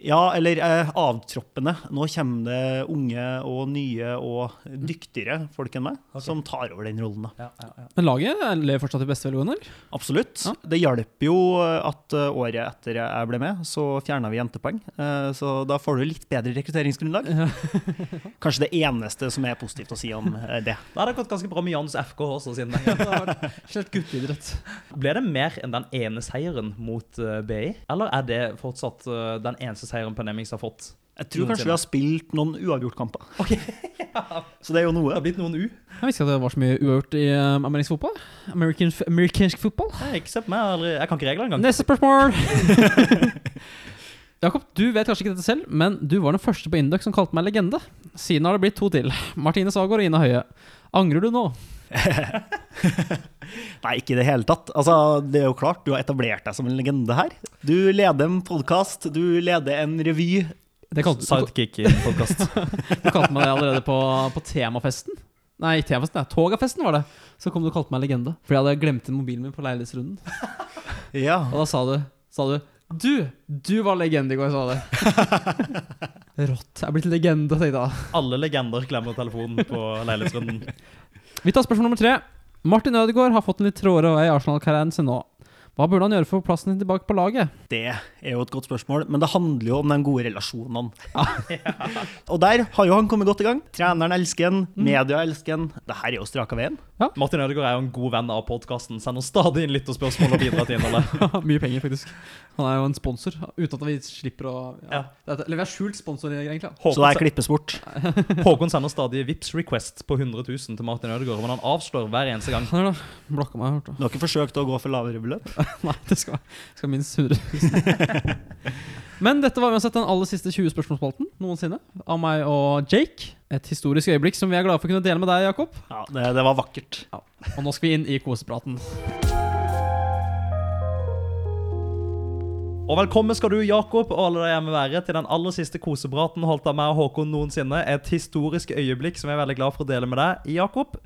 C: Ja, eller eh, avtroppene. Nå kommer det unge og nye og dyktigere folk enn meg som tar over den rollen. da.
A: Ja, ja, ja.
D: Men laget lever fortsatt i beste velgående? eller?
C: Absolutt.
D: Ja.
C: Det hjalp jo at eh, året etter jeg ble med, så fjerna vi jentepoeng. Eh, Så da får du litt bedre rekrutteringsgrunnlag. Kanskje det eneste som er positivt å si om eh, det.
A: Da har det gått ganske bra med Jans FK også siden den gang.
D: Det har vært slett gutteidrett.
A: Ble det mer enn den ene seieren mot eh, BI? Eller er det fortsatt eh, den eneste seieren Pandemics har fått?
C: Jeg tror kanskje vi har spilt noen uavgjort-kamper. Så det er jo
A: Det
C: noe.
A: har blitt noen U.
D: Jeg visste ikke at det var så mye uavgjort i um, amerikansk fotball. American, amerikansk fotball.
A: Nei, ikke se på meg. eller- Jeg kan ikke reglene engang.
D: Neste spørsmål! Jakob, du vet kanskje ikke dette selv, men du var den første på Induc som kalte meg legende. Siden har det blitt to til. Martine Sagård og Ina Høie. Angrer du nå?
C: Nei, ikke i det hele tatt. Altså, det er jo klart, du har etablert deg som en legende her. Du leder en podkast, du leder en revy.
D: Det kalte,
A: Sidekick i podkast.
D: du kalte meg det allerede på, på temafesten. Nei, ikke TV-festen, nei, Togafesten var det. Så kom du og kalte meg legende. For jeg hadde glemt inn mobilen min på leilighetsrunden.
C: Ja.
D: Og da sa du, sa du Du, du var legende i går, sa du. Rått. Jeg er blitt legende, tenkte jeg da.
C: Alle legender klemmer telefonen på leilighetsrunden.
D: Vi tar spørsmål nummer tre. Martin Ødegaard har fått en litt tråere vei i Arsenal-karrieren sin nå. Hva burde han gjøre for å få plassen sin tilbake på laget?
C: Det er jo et godt spørsmål, men det handler jo om de gode relasjonene. Og der har jo han kommet godt i gang. Treneren elsker han, media elsker han. Det her er jo straka veien.
A: Martin Ødegaard er jo en god venn av podkasten. Sender stadig inn lytterspørsmål og bidrar til innholdet.
D: Mye penger, faktisk. Han er jo en sponsor, uten at vi slipper å ja.
A: Ja.
D: Det er- Eller vi er skjult sponsor, egentlig.
C: Så det her
A: Håkon,
C: klippes bort.
A: Håkon sender stadig vips request på 100 000 til Martin Ødegaard, men han avslår hver eneste gang.
D: Han er da blokka meg, hørte
C: Du har ikke forsøkt å gå for lavere beløp?
D: Nei, det skal, skal minst 100 000. Men dette var uansett den aller siste 20 spørsmålsspalten noensinne. Av meg og Jake. Et historisk øyeblikk som vi er glade for å kunne dele med deg, Jakob.
C: Ja, det, det var vakkert.
D: Og nå skal vi inn i kosepraten.
A: Og velkommen skal du, Jakob, og alle der hjemme være, til den aller siste kosepraten holdt av meg og Håkon noensinne. Et historisk øyeblikk som jeg er veldig glad for å dele med deg, Jakob.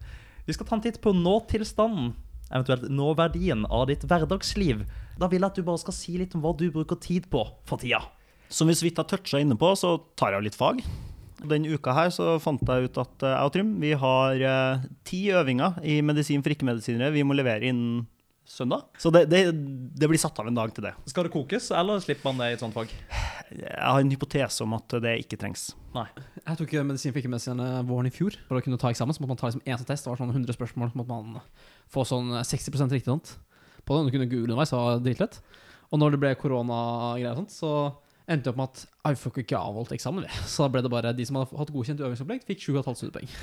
A: Vi skal ta en titt på nåtilstanden, eventuelt nåverdien, av ditt hverdagsliv. Da vil jeg at du bare skal si litt om hva du bruker tid på for tida.
C: Som vi så vidt har toucha inne på, så tar jeg litt fag. Denne uka her så fant jeg ut at eh, jeg og Trym vi har eh, ti øvinger i medisin for ikke-medisinere vi må levere innen søndag. Så det, det, det blir satt av en dag til det.
A: Skal det kokes, eller slipper man det i et sånt fag?
C: Jeg har en hypotese om at det ikke trengs.
D: Jeg tok medisin for ikke-medisinerne våren i fjor. For å kunne ta eksamen så måtte man ta liksom én sånn test. Det var sånn 100 spørsmål. Så måtte man få sånn 60 riktig. Sant? På den. Du kunne google underveis, det var dritlett. Og når det ble koronagreier og sånt, så endte det opp med at «Ai, vi får ikke avholdt eksamen, vi. Så da ble det bare de som hadde hatt godkjent øvingsopplegg, fikk 7,5 studiepoeng.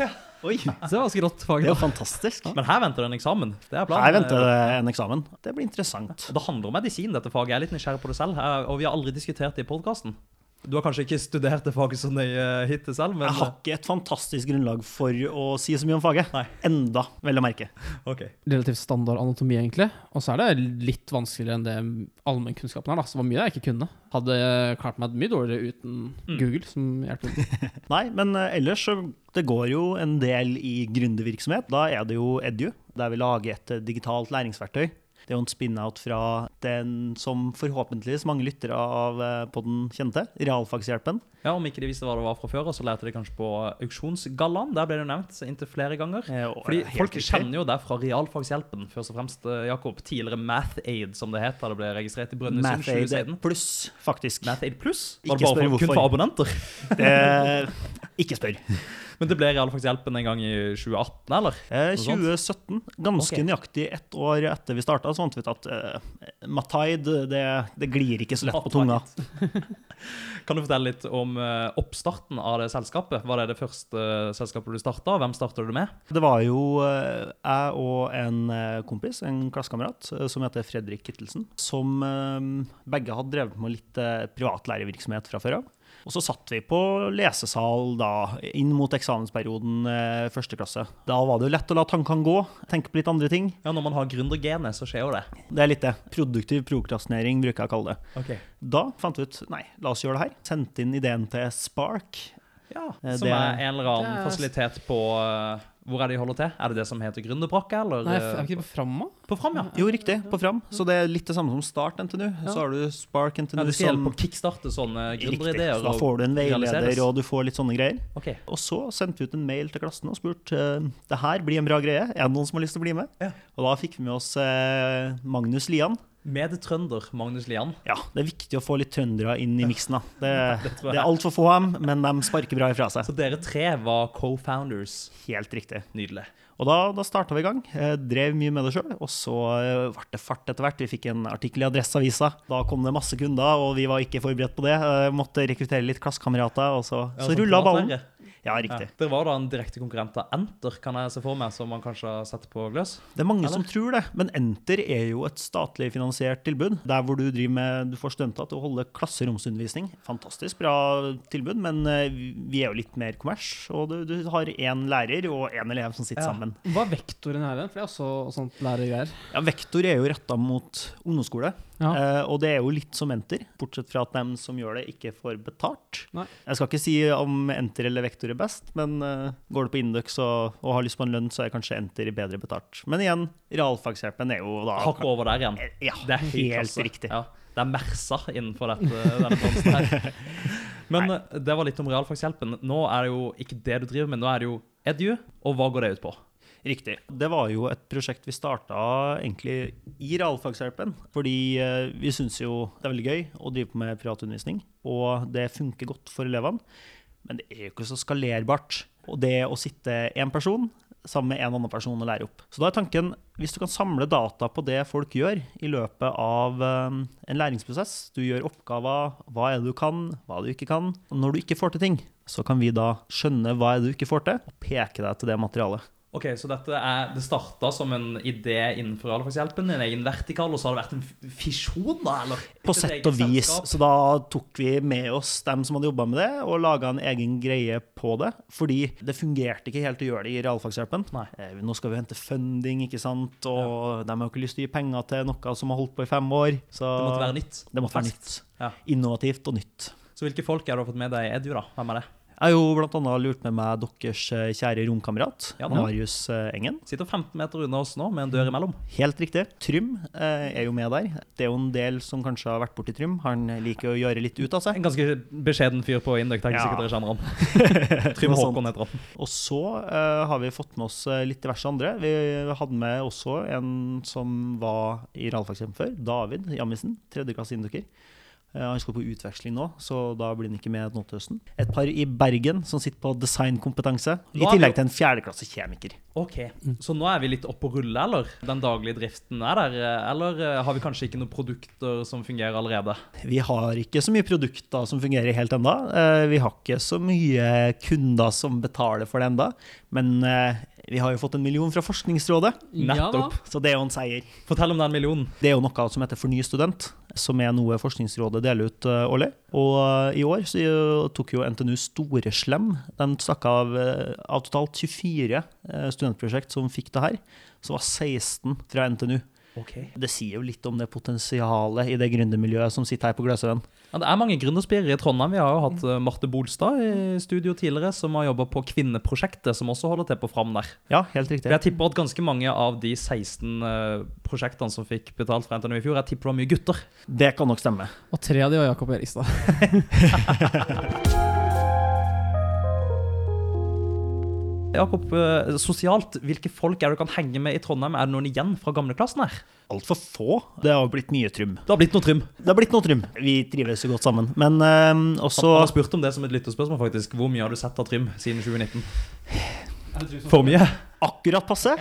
C: Oi,
D: Så det var ganske rått fag.
C: Det er
D: da.
C: jo fantastisk.
A: Men her venter det en eksamen. Det er planen.
C: Her venter det en eksamen. Det blir interessant.
A: Og Det handler om medisin, dette faget. Jeg er litt nysgjerrig på det selv, eh, og vi har aldri diskutert det i podkasten. Du har kanskje ikke studert det faget så nøye hittil selv, men
C: Jeg har ikke et fantastisk grunnlag for å si så mye om faget.
A: Nei.
C: Enda, vel å merke.
A: Ok.
D: Relativt standard anatomi, egentlig. Og så er det litt vanskeligere enn det allmennkunnskapen er. Da. Så det var mye jeg ikke kunne. Hadde klart meg mye dårligere uten Google som hjelper.
C: Nei, men eh, ellers så det går jo en del i gründervirksomhet. Da er det jo Edu, der vi lager et eh, digitalt læringsverktøy. Det er jo en spin-out fra den som forhåpentligvis mange lyttere av eh, podden kjente, Realfagshjelpen.
A: Ja, Om ikke de visste hva det var fra før, så lærte de kanskje på auksjonsgallaen. Der ble det jo nevnt inntil flere ganger.
C: Eh, og-
A: Fordi
C: helt
A: Folk
C: riktig.
A: kjenner jo det fra realfagshjelpen, først og fremst eh, Jakob. Tidligere MathAid, som det het da det ble registrert i Brønnøysund
C: MathAid
A: 2016.
C: pluss, faktisk.
A: MathAid Pluss?
C: Ikke
A: Var det bare
C: spør
A: for, kun
C: hvorfor.
A: for abonnenter?
C: Det, ikke spør.
A: Men det ble realfagshjelpen en gang i 2018, eller?
C: Eh,
A: Noe sånt.
C: 2017, ganske
A: Ok.
C: nøyaktig ett år etter vi starta, så fant vi ut at eh, Mataid, det, det glir ikke så lett på tunga.
A: Kan du fortelle litt om eh, oppstarten av det selskapet? Var det det første eh, selskapet du starta? Hvem starta du med?
C: Det var jo eh, jeg og en eh, kompis, en klassekamerat, eh, som heter Fredrik Kittelsen, som eh, begge hadde drevet med litt eh, privatlærevirksomhet fra før av. Og så satt vi på lesesal da, inn mot eksamensperioden eh, første klasse. Da var det jo lett å la tankene gå, tenke på litt andre ting.
A: Ja, Når man har gründergenet, så skjer jo det.
C: Det er litt det. Produktiv prokrastinering bruker jeg å kalle det.
A: Ok.
C: Da fant vi ut nei, la oss gjøre det her. Sendte inn ideen til Spark.
A: Ja,
C: Eh,
A: Som
C: det-
A: er en eller annen
D: det er-
A: fasilitet på eh, Hvor er det de holder til? Er det det som heter Gründerbrakke, eller?
D: Nei,
A: eh,
D: er vi ikke på Framma?
A: På Fram, ja.
C: Jo, riktig, på Fram. Så det er litt det samme som Start NTNU. Så har du Spark NTNU
A: ja du skal
C: som
A: hjelpe å kickstarte sånne
C: Riktig. Så
A: gründerideer.
C: da
A: og-
C: får du en veileder,
A: realiseres.
C: og du får litt sånne greier.
A: Ok.
C: Og så sendte vi ut en mail til klassen og spurte eh, det her blir en bra greie. Er det noen som har lyst til å bli med?
A: Ja.
C: Og da fikk vi med oss eh, Magnus Lian.
A: Med trønder Magnus Lian.
C: Ja, det er viktig å få litt trøndere inn i miksen. da. Det,
A: det tror jeg.
C: det er altfor få av dem, men de sparker bra ifra seg.
A: Så dere tre var co-founders.
C: Helt riktig.
A: Nydelig.
C: Og da, da starta vi i gang. eh, Drev mye med det sjøl. Og så eh, ble det fart etter hvert. Vi fikk en artikkel i Adresseavisa. Da kom det masse kunder, og vi var ikke forberedt på det. Eh, Måtte rekruttere litt klassekamerater, og så,
A: Ja, sånn
C: så
A: som
C: rulla ballen.
A: privatlærer. Ja.
C: Ja, riktig.
A: Dere var da en direkte konkurrent av Enter, kan jeg se for meg, som man kanskje har sett på gløs?
C: Det er mange
A: Eller?
C: som tror det, men Enter er jo et statlig finansiert tilbud. Der hvor du driver med, du får studenter til å holde klasseromsundervisning. Fantastisk bra tilbud, men eh, vi er jo litt mer kommers. Og du, du har én lærer og én elev som sitter
A: Ja.
C: sammen.
D: Hva er vektoren her? For det er også sånt lærergreier.
C: Ja, Vektor er jo retta mot ungdomsskole,
D: Ja.
C: eh, og det er jo litt som Enter. Bortsett fra at dem som gjør det, ikke får betalt.
D: Nei.
C: Jeg skal ikke si om Enter eller Vektor enter er best, men eh, går du på Indux og, og har lyst på en lønn, så er kanskje enter bedre betalt. Men igjen, realfagshjelpen er jo da
A: Hakk over der igjen.
C: Ja,
A: Det er helt,
C: helt
A: klasse.
C: riktig.
A: Ja, det er mersa innenfor dette, denne bransjen her. Men eh, det var litt om realfagshjelpen. Nå er det jo ikke det du driver med, nå er det jo Edu, og hva går det ut på?
C: Riktig. Det var jo et prosjekt vi starta egentlig i realfagshjelpen. Fordi eh, vi syns jo det er veldig gøy å drive på med privatundervisning, og det funker godt for elevene. Men det er jo ikke så skalerbart. Og det å sitte én person sammen med en annen person og lære opp. Så da er tanken, hvis du kan samle data på det folk gjør i løpet av eh, en læringsprosess, du gjør oppgaver, hva er det du kan, hva er det du ikke kan. Og når du ikke får til ting, så kan vi da skjønne hva er det du ikke får til, og peke deg til det materialet.
A: Ok, så dette er, Det starta som en idé innenfor realfagshjelpen, en egen vertikal, og så har det vært en f- fisjon, da? eller?
C: På
A: Et
C: sett
A: eget
C: og vis.
A: selskap.
C: Så da tok vi med oss dem som hadde jobba med det, og laga en egen greie på det. Fordi det fungerte ikke helt å gjøre det i realfagshjelpen.
A: Nei.
C: Eh, Nå skal vi hente funding, ikke sant, og de har jo ikke lyst til å gi penger til noe som har holdt på i fem år. Så
A: Det måtte være nytt.
C: Det måtte være nytt.
A: Ferskt. Ja.
C: Innovativt og nytt.
A: Så hvilke folk har du fått med deg i Edu, da? Hvem er det?
C: Jeg har jo blant annet lurt med meg deres eh, kjære romkamerat,
A: Ja, da.
C: Marius eh, Engen.
A: Sitter 15 meter unna oss nå, med en dør imellom.
C: Helt riktig. Trym eh, er jo med der. Det er jo en del som kanskje har vært borti Trym. Han liker å gjøre litt ut av seg.
A: En ganske beskjeden fyr på Indøk, tenker
C: Ja.
A: sikkert dere kjenner han.
C: Noe
A: Trym
C: sånt.
A: Håkon heter han.
C: Og så eh, har vi fått med oss eh, litt diverse andre. Vi hadde med også en som var i realfagshjem før, David Jammisen, tredjeklasse inndukker. Eh, han skal på utveksling nå, så da blir han ikke med nå til høsten. Et par i Bergen som sitter på designkompetanse,
A: Nå
C: i
A: er vi
C: tillegg
A: jo-
C: til en fjerdeklasse kjemiker.
A: Ok, Så nå er vi litt oppe å rulle, eller? Den daglige driften er der? eh, Eller eh, har vi kanskje ikke noen produkter som fungerer allerede?
C: Vi har ikke så mye produkter som fungerer helt enda. Eh, Vi har ikke så mye kunder som betaler for det enda. Men eh, vi har jo fått en million fra Forskningsrådet,
D: Ja da.
A: Nettopp.
C: så det er jo en seier.
A: Fortell om den millionen.
C: Det er jo noe som heter Forny student, som er noe Forskningsrådet deler ut eh, årlig. Og eh, i år så jo- tok jo NTNU store slem. De stakk av, eh, av totalt 24 eh, studentprosjekt som fikk det her, så var 16 fra NTNU.
A: Ok.
C: Det sier jo litt om det potensialet i det gründermiljøet som sitter her på Gløshaugen.
A: Ja, det er mange gründerspirer i Trondheim. Vi har jo hatt eh, Marte Bolstad i studio tidligere, som har jobba på Kvinneprosjektet, som også holder til på Fram der.
C: Ja, helt riktig.
A: For Jeg tipper at ganske mange av de 16 eh, prosjektene som fikk betalt fra NTNU i fjor, jeg tipper det var mye gutter.
C: Det kan nok stemme.
D: Og tre av de var Jakob Erikstad.
A: Jakob, eh, sosialt, hvilke folk er det du kan henge med i Trondheim? Er det noen igjen fra gamleklassen her?
C: Altfor få. Det har blitt mye trym.
A: Det har blitt noe trym.
C: Det har blitt noe trym. Vi trives jo godt sammen. Men eh, også
A: Han har spurt om det som et lytterspørsmål, faktisk. Hvor mye har du sett av Trym siden 2019? For mye?
C: akkurat passe.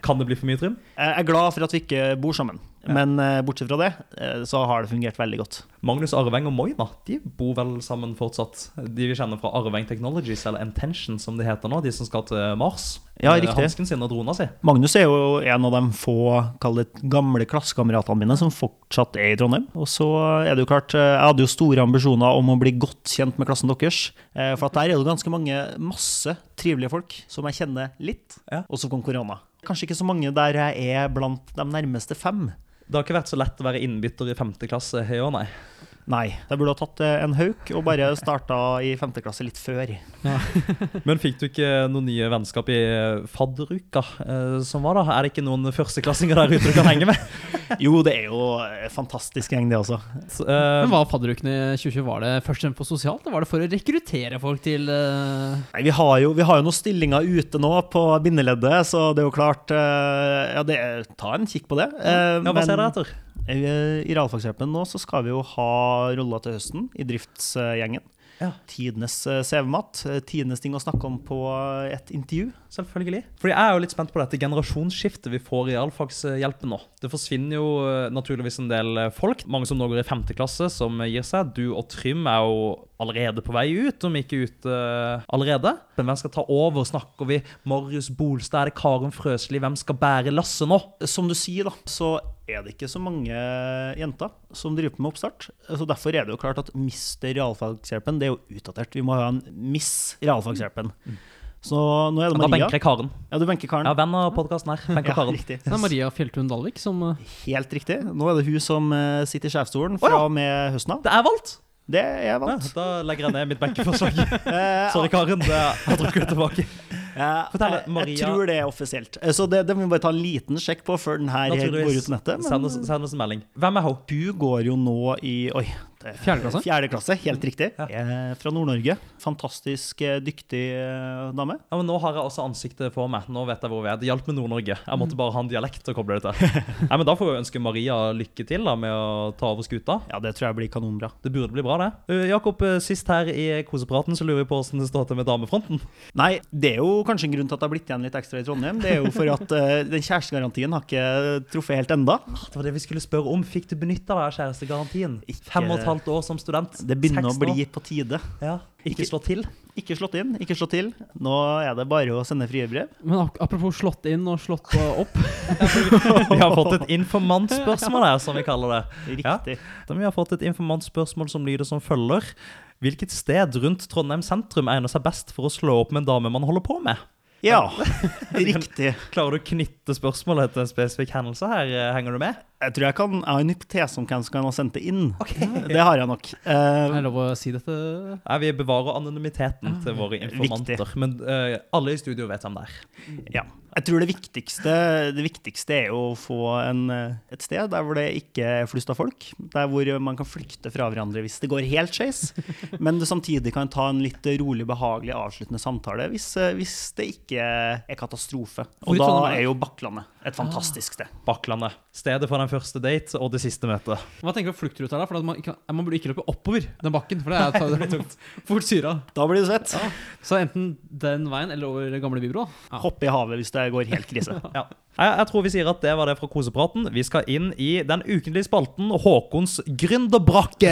A: Kan det bli for mye Trym?
C: Jeg er glad for at vi ikke bor sammen, men eh, bortsett fra det eh, så har det fungert veldig godt.
A: Magnus Arveng og Moina de bor vel sammen fortsatt. De vi kjenner fra Arveng Technologies, eller Intention som det heter nå. De som skal til Mars.
C: Ja,
A: Med
C: riktig.
A: Hansken sin og drona si.
C: Magnus er jo en av de få kall det, gamle klassekameratene mine som fortsatt er i Trondheim. Og så er det jo klart, eh, jeg hadde jo store ambisjoner om å bli godt kjent med klassen deres. eh, For at der er det jo ganske mange, masse trivelige folk som jeg kjenner litt,
A: Ja.
C: og så kom korona. Kanskje ikke så mange der jeg er blant de nærmeste fem.
A: Det har ikke vært så lett å være innbytter i femte klasse i år, nei.
C: Nei, jeg burde ha tatt eh, en hauk og bare starta i femte klasse litt før.
A: Men fikk du ikke noen nye vennskap i fadderuka eh, som var, da? Er det ikke noen førsteklassinger der ute du kan henge med?
C: Jo, det er jo eh, fantastisk gjeng, det også.
A: Så,
D: Men
A: eh,
D: var fadderukene i 2020 var det først og fremst for sosialt? Eller var det for å rekruttere folk til eh,
C: Nei, vi har, jo, vi har jo noen stillinger ute nå på bindeleddet, så det er jo klart eh, Ja, det er, ta en kikk på det. Eh,
A: ja, hva
C: men-
A: ser dere etter?
C: Eh, I realfagshjelpen nå så skal vi jo ha rolla til høsten i driftsgjengen.
A: Ja.
C: Tidenes eh, CV-mat. eh, Tidenes ting å snakke om på eh, et intervju.
A: Selvfølgelig. Fordi jeg er jo litt spent på dette generasjonsskiftet vi får i realfagshjelpen nå. Det forsvinner jo eh, naturligvis en del eh, folk. Mange som nå går i femte klasse, som eh, gir seg. Du og Trym er jo allerede på vei ut, om ikke ute eh, allerede. Men hvem skal ta over? Snakker vi Marius Bolstad? Er det Karen Frøsli? Hvem skal bære lasset nå?
C: Som du sier, da, så er det ikke så mange eh, jenter som driver med oppstart. Så derfor er det jo klart at Mister realfagshjelpen det er jo utdatert. Vi må ha en Miss realfagshjelpen. Så nå er det
A: Mm. Da
C: Maria.
A: benker jeg Karen.
C: Ja, du benker Karen.
A: Ja, venn av podkasten her. Benker
C: Ja,
A: Karen.
C: riktig.
D: Det er Maria Fjelltun Dalvik som eh,
C: Helt riktig. Nå er det hun som eh, sitter i sjefsstolen fra
A: Å ja.
C: og med høsten av.
A: Det er valgt!
C: Det er jeg
A: Ja,
C: vant.
A: da legger jeg ned mitt benkeforslag.
C: Eh,
A: Sorry, Karen. Det jeg trekker det tilbake.
C: eh,
A: Fortell,
C: jeg-
A: Maria.
C: Jeg tror det er offisielt. Eh, Så det, det må vi bare ta en liten sjekk på før den her går ut
A: Naturligvis.
C: på nettet.
A: Send oss,
C: Men
A: send oss en melding. Hvem er hun?
C: du går jo nå i Oi. det-
D: Fjerde klasse?
C: Fjerde klasse, Helt riktig.
A: Ja.
C: Eh, Fra Nord-Norge. Fantastisk eh, dyktig eh, dame.
A: Ja, men nå har jeg også ansiktet for meg. Nå vet jeg hvor vi er. Det hjalp med Nord-Norge. Jeg måtte bare ha en dialekt å koble det til. Nei, men Da får vi ønske Maria lykke til da, med å ta over skuta.
C: Ja, det tror jeg blir kanonbra.
A: Det burde bli bra, det. Eh, Jakob, eh, sist her i kosepraten så lurer vi på hvordan det står til med damefronten.
C: Nei, det er jo kanskje en grunn til at det har blitt igjen litt ekstra i Trondheim. Det er jo for at eh, den kjærestegarantien har ikke truffet helt enda.
A: Ah, Det var det vi skulle spørre om. Fikk du benytta deg av kjærestegarantien?
C: Ikke-
A: Fem og et halvt år som student.
C: Det begynner å
A: Seks
C: bli
A: år.
C: på tide.
A: ja. Ikke
C: Ikke-
A: slå til.
C: Ikke slått inn, ikke slått til. Nå er det bare å sende frie brev.
D: Men ak- apropos slått inn og slått eh, opp.
A: Vi har fått et informantspørsmål her, som vi kaller det.
C: Riktig.
A: Da vi har fått et informantspørsmål som lyder som følger. Hvilket sted rundt Trondheim sentrum egner seg best for å slå opp med en dame man holder på med?
C: Ja, riktig.
A: Klarer du å knytte spørsmålet til en spesifikk hendelse her? eh, Henger du med?
C: Jeg tror jeg kan Jeg har en hypotese om hvem som kan ha sendt det inn.
A: Ok.
C: Det har jeg nok.
D: Er det
C: Eh,
D: lov å si dette?
A: Nei, vi bevarer anonymiteten til våre informanter.
C: Viktig.
A: Men eh, alle i studio vet hvem det er.
C: ja. Jeg tror det viktigste, det viktigste er jo å få en, eh, et sted der hvor det ikke er flust av folk. Der hvor man kan flykte fra hverandre hvis det går helt skeis. Men du samtidig kan ta en litt rolig, behagelig avsluttende samtale hvis, eh, hvis det ikke er katastrofe.
D: Hvor
C: Og
D: i
C: da
D: Trondheim Ah. er det?
C: er jo Bakklandet et fantastisk sted.
A: Bakklandet. Stedet for den første date og det siste møtet.
D: Hva tenker du om fluktrute er da? For at man, ikke, man burde ikke løpe oppover den bakken. For det er det er fort syra.
C: Da blir du svett.
D: Så enten den veien eller over gamle Bybro. da. Ja.
C: Hoppe i havet hvis det går helt krise.
A: Ja. Jeg, jeg tror vi sier at det var det fra kosepraten. Vi skal inn i den ukentlige spalten Håkons gründerbrakke.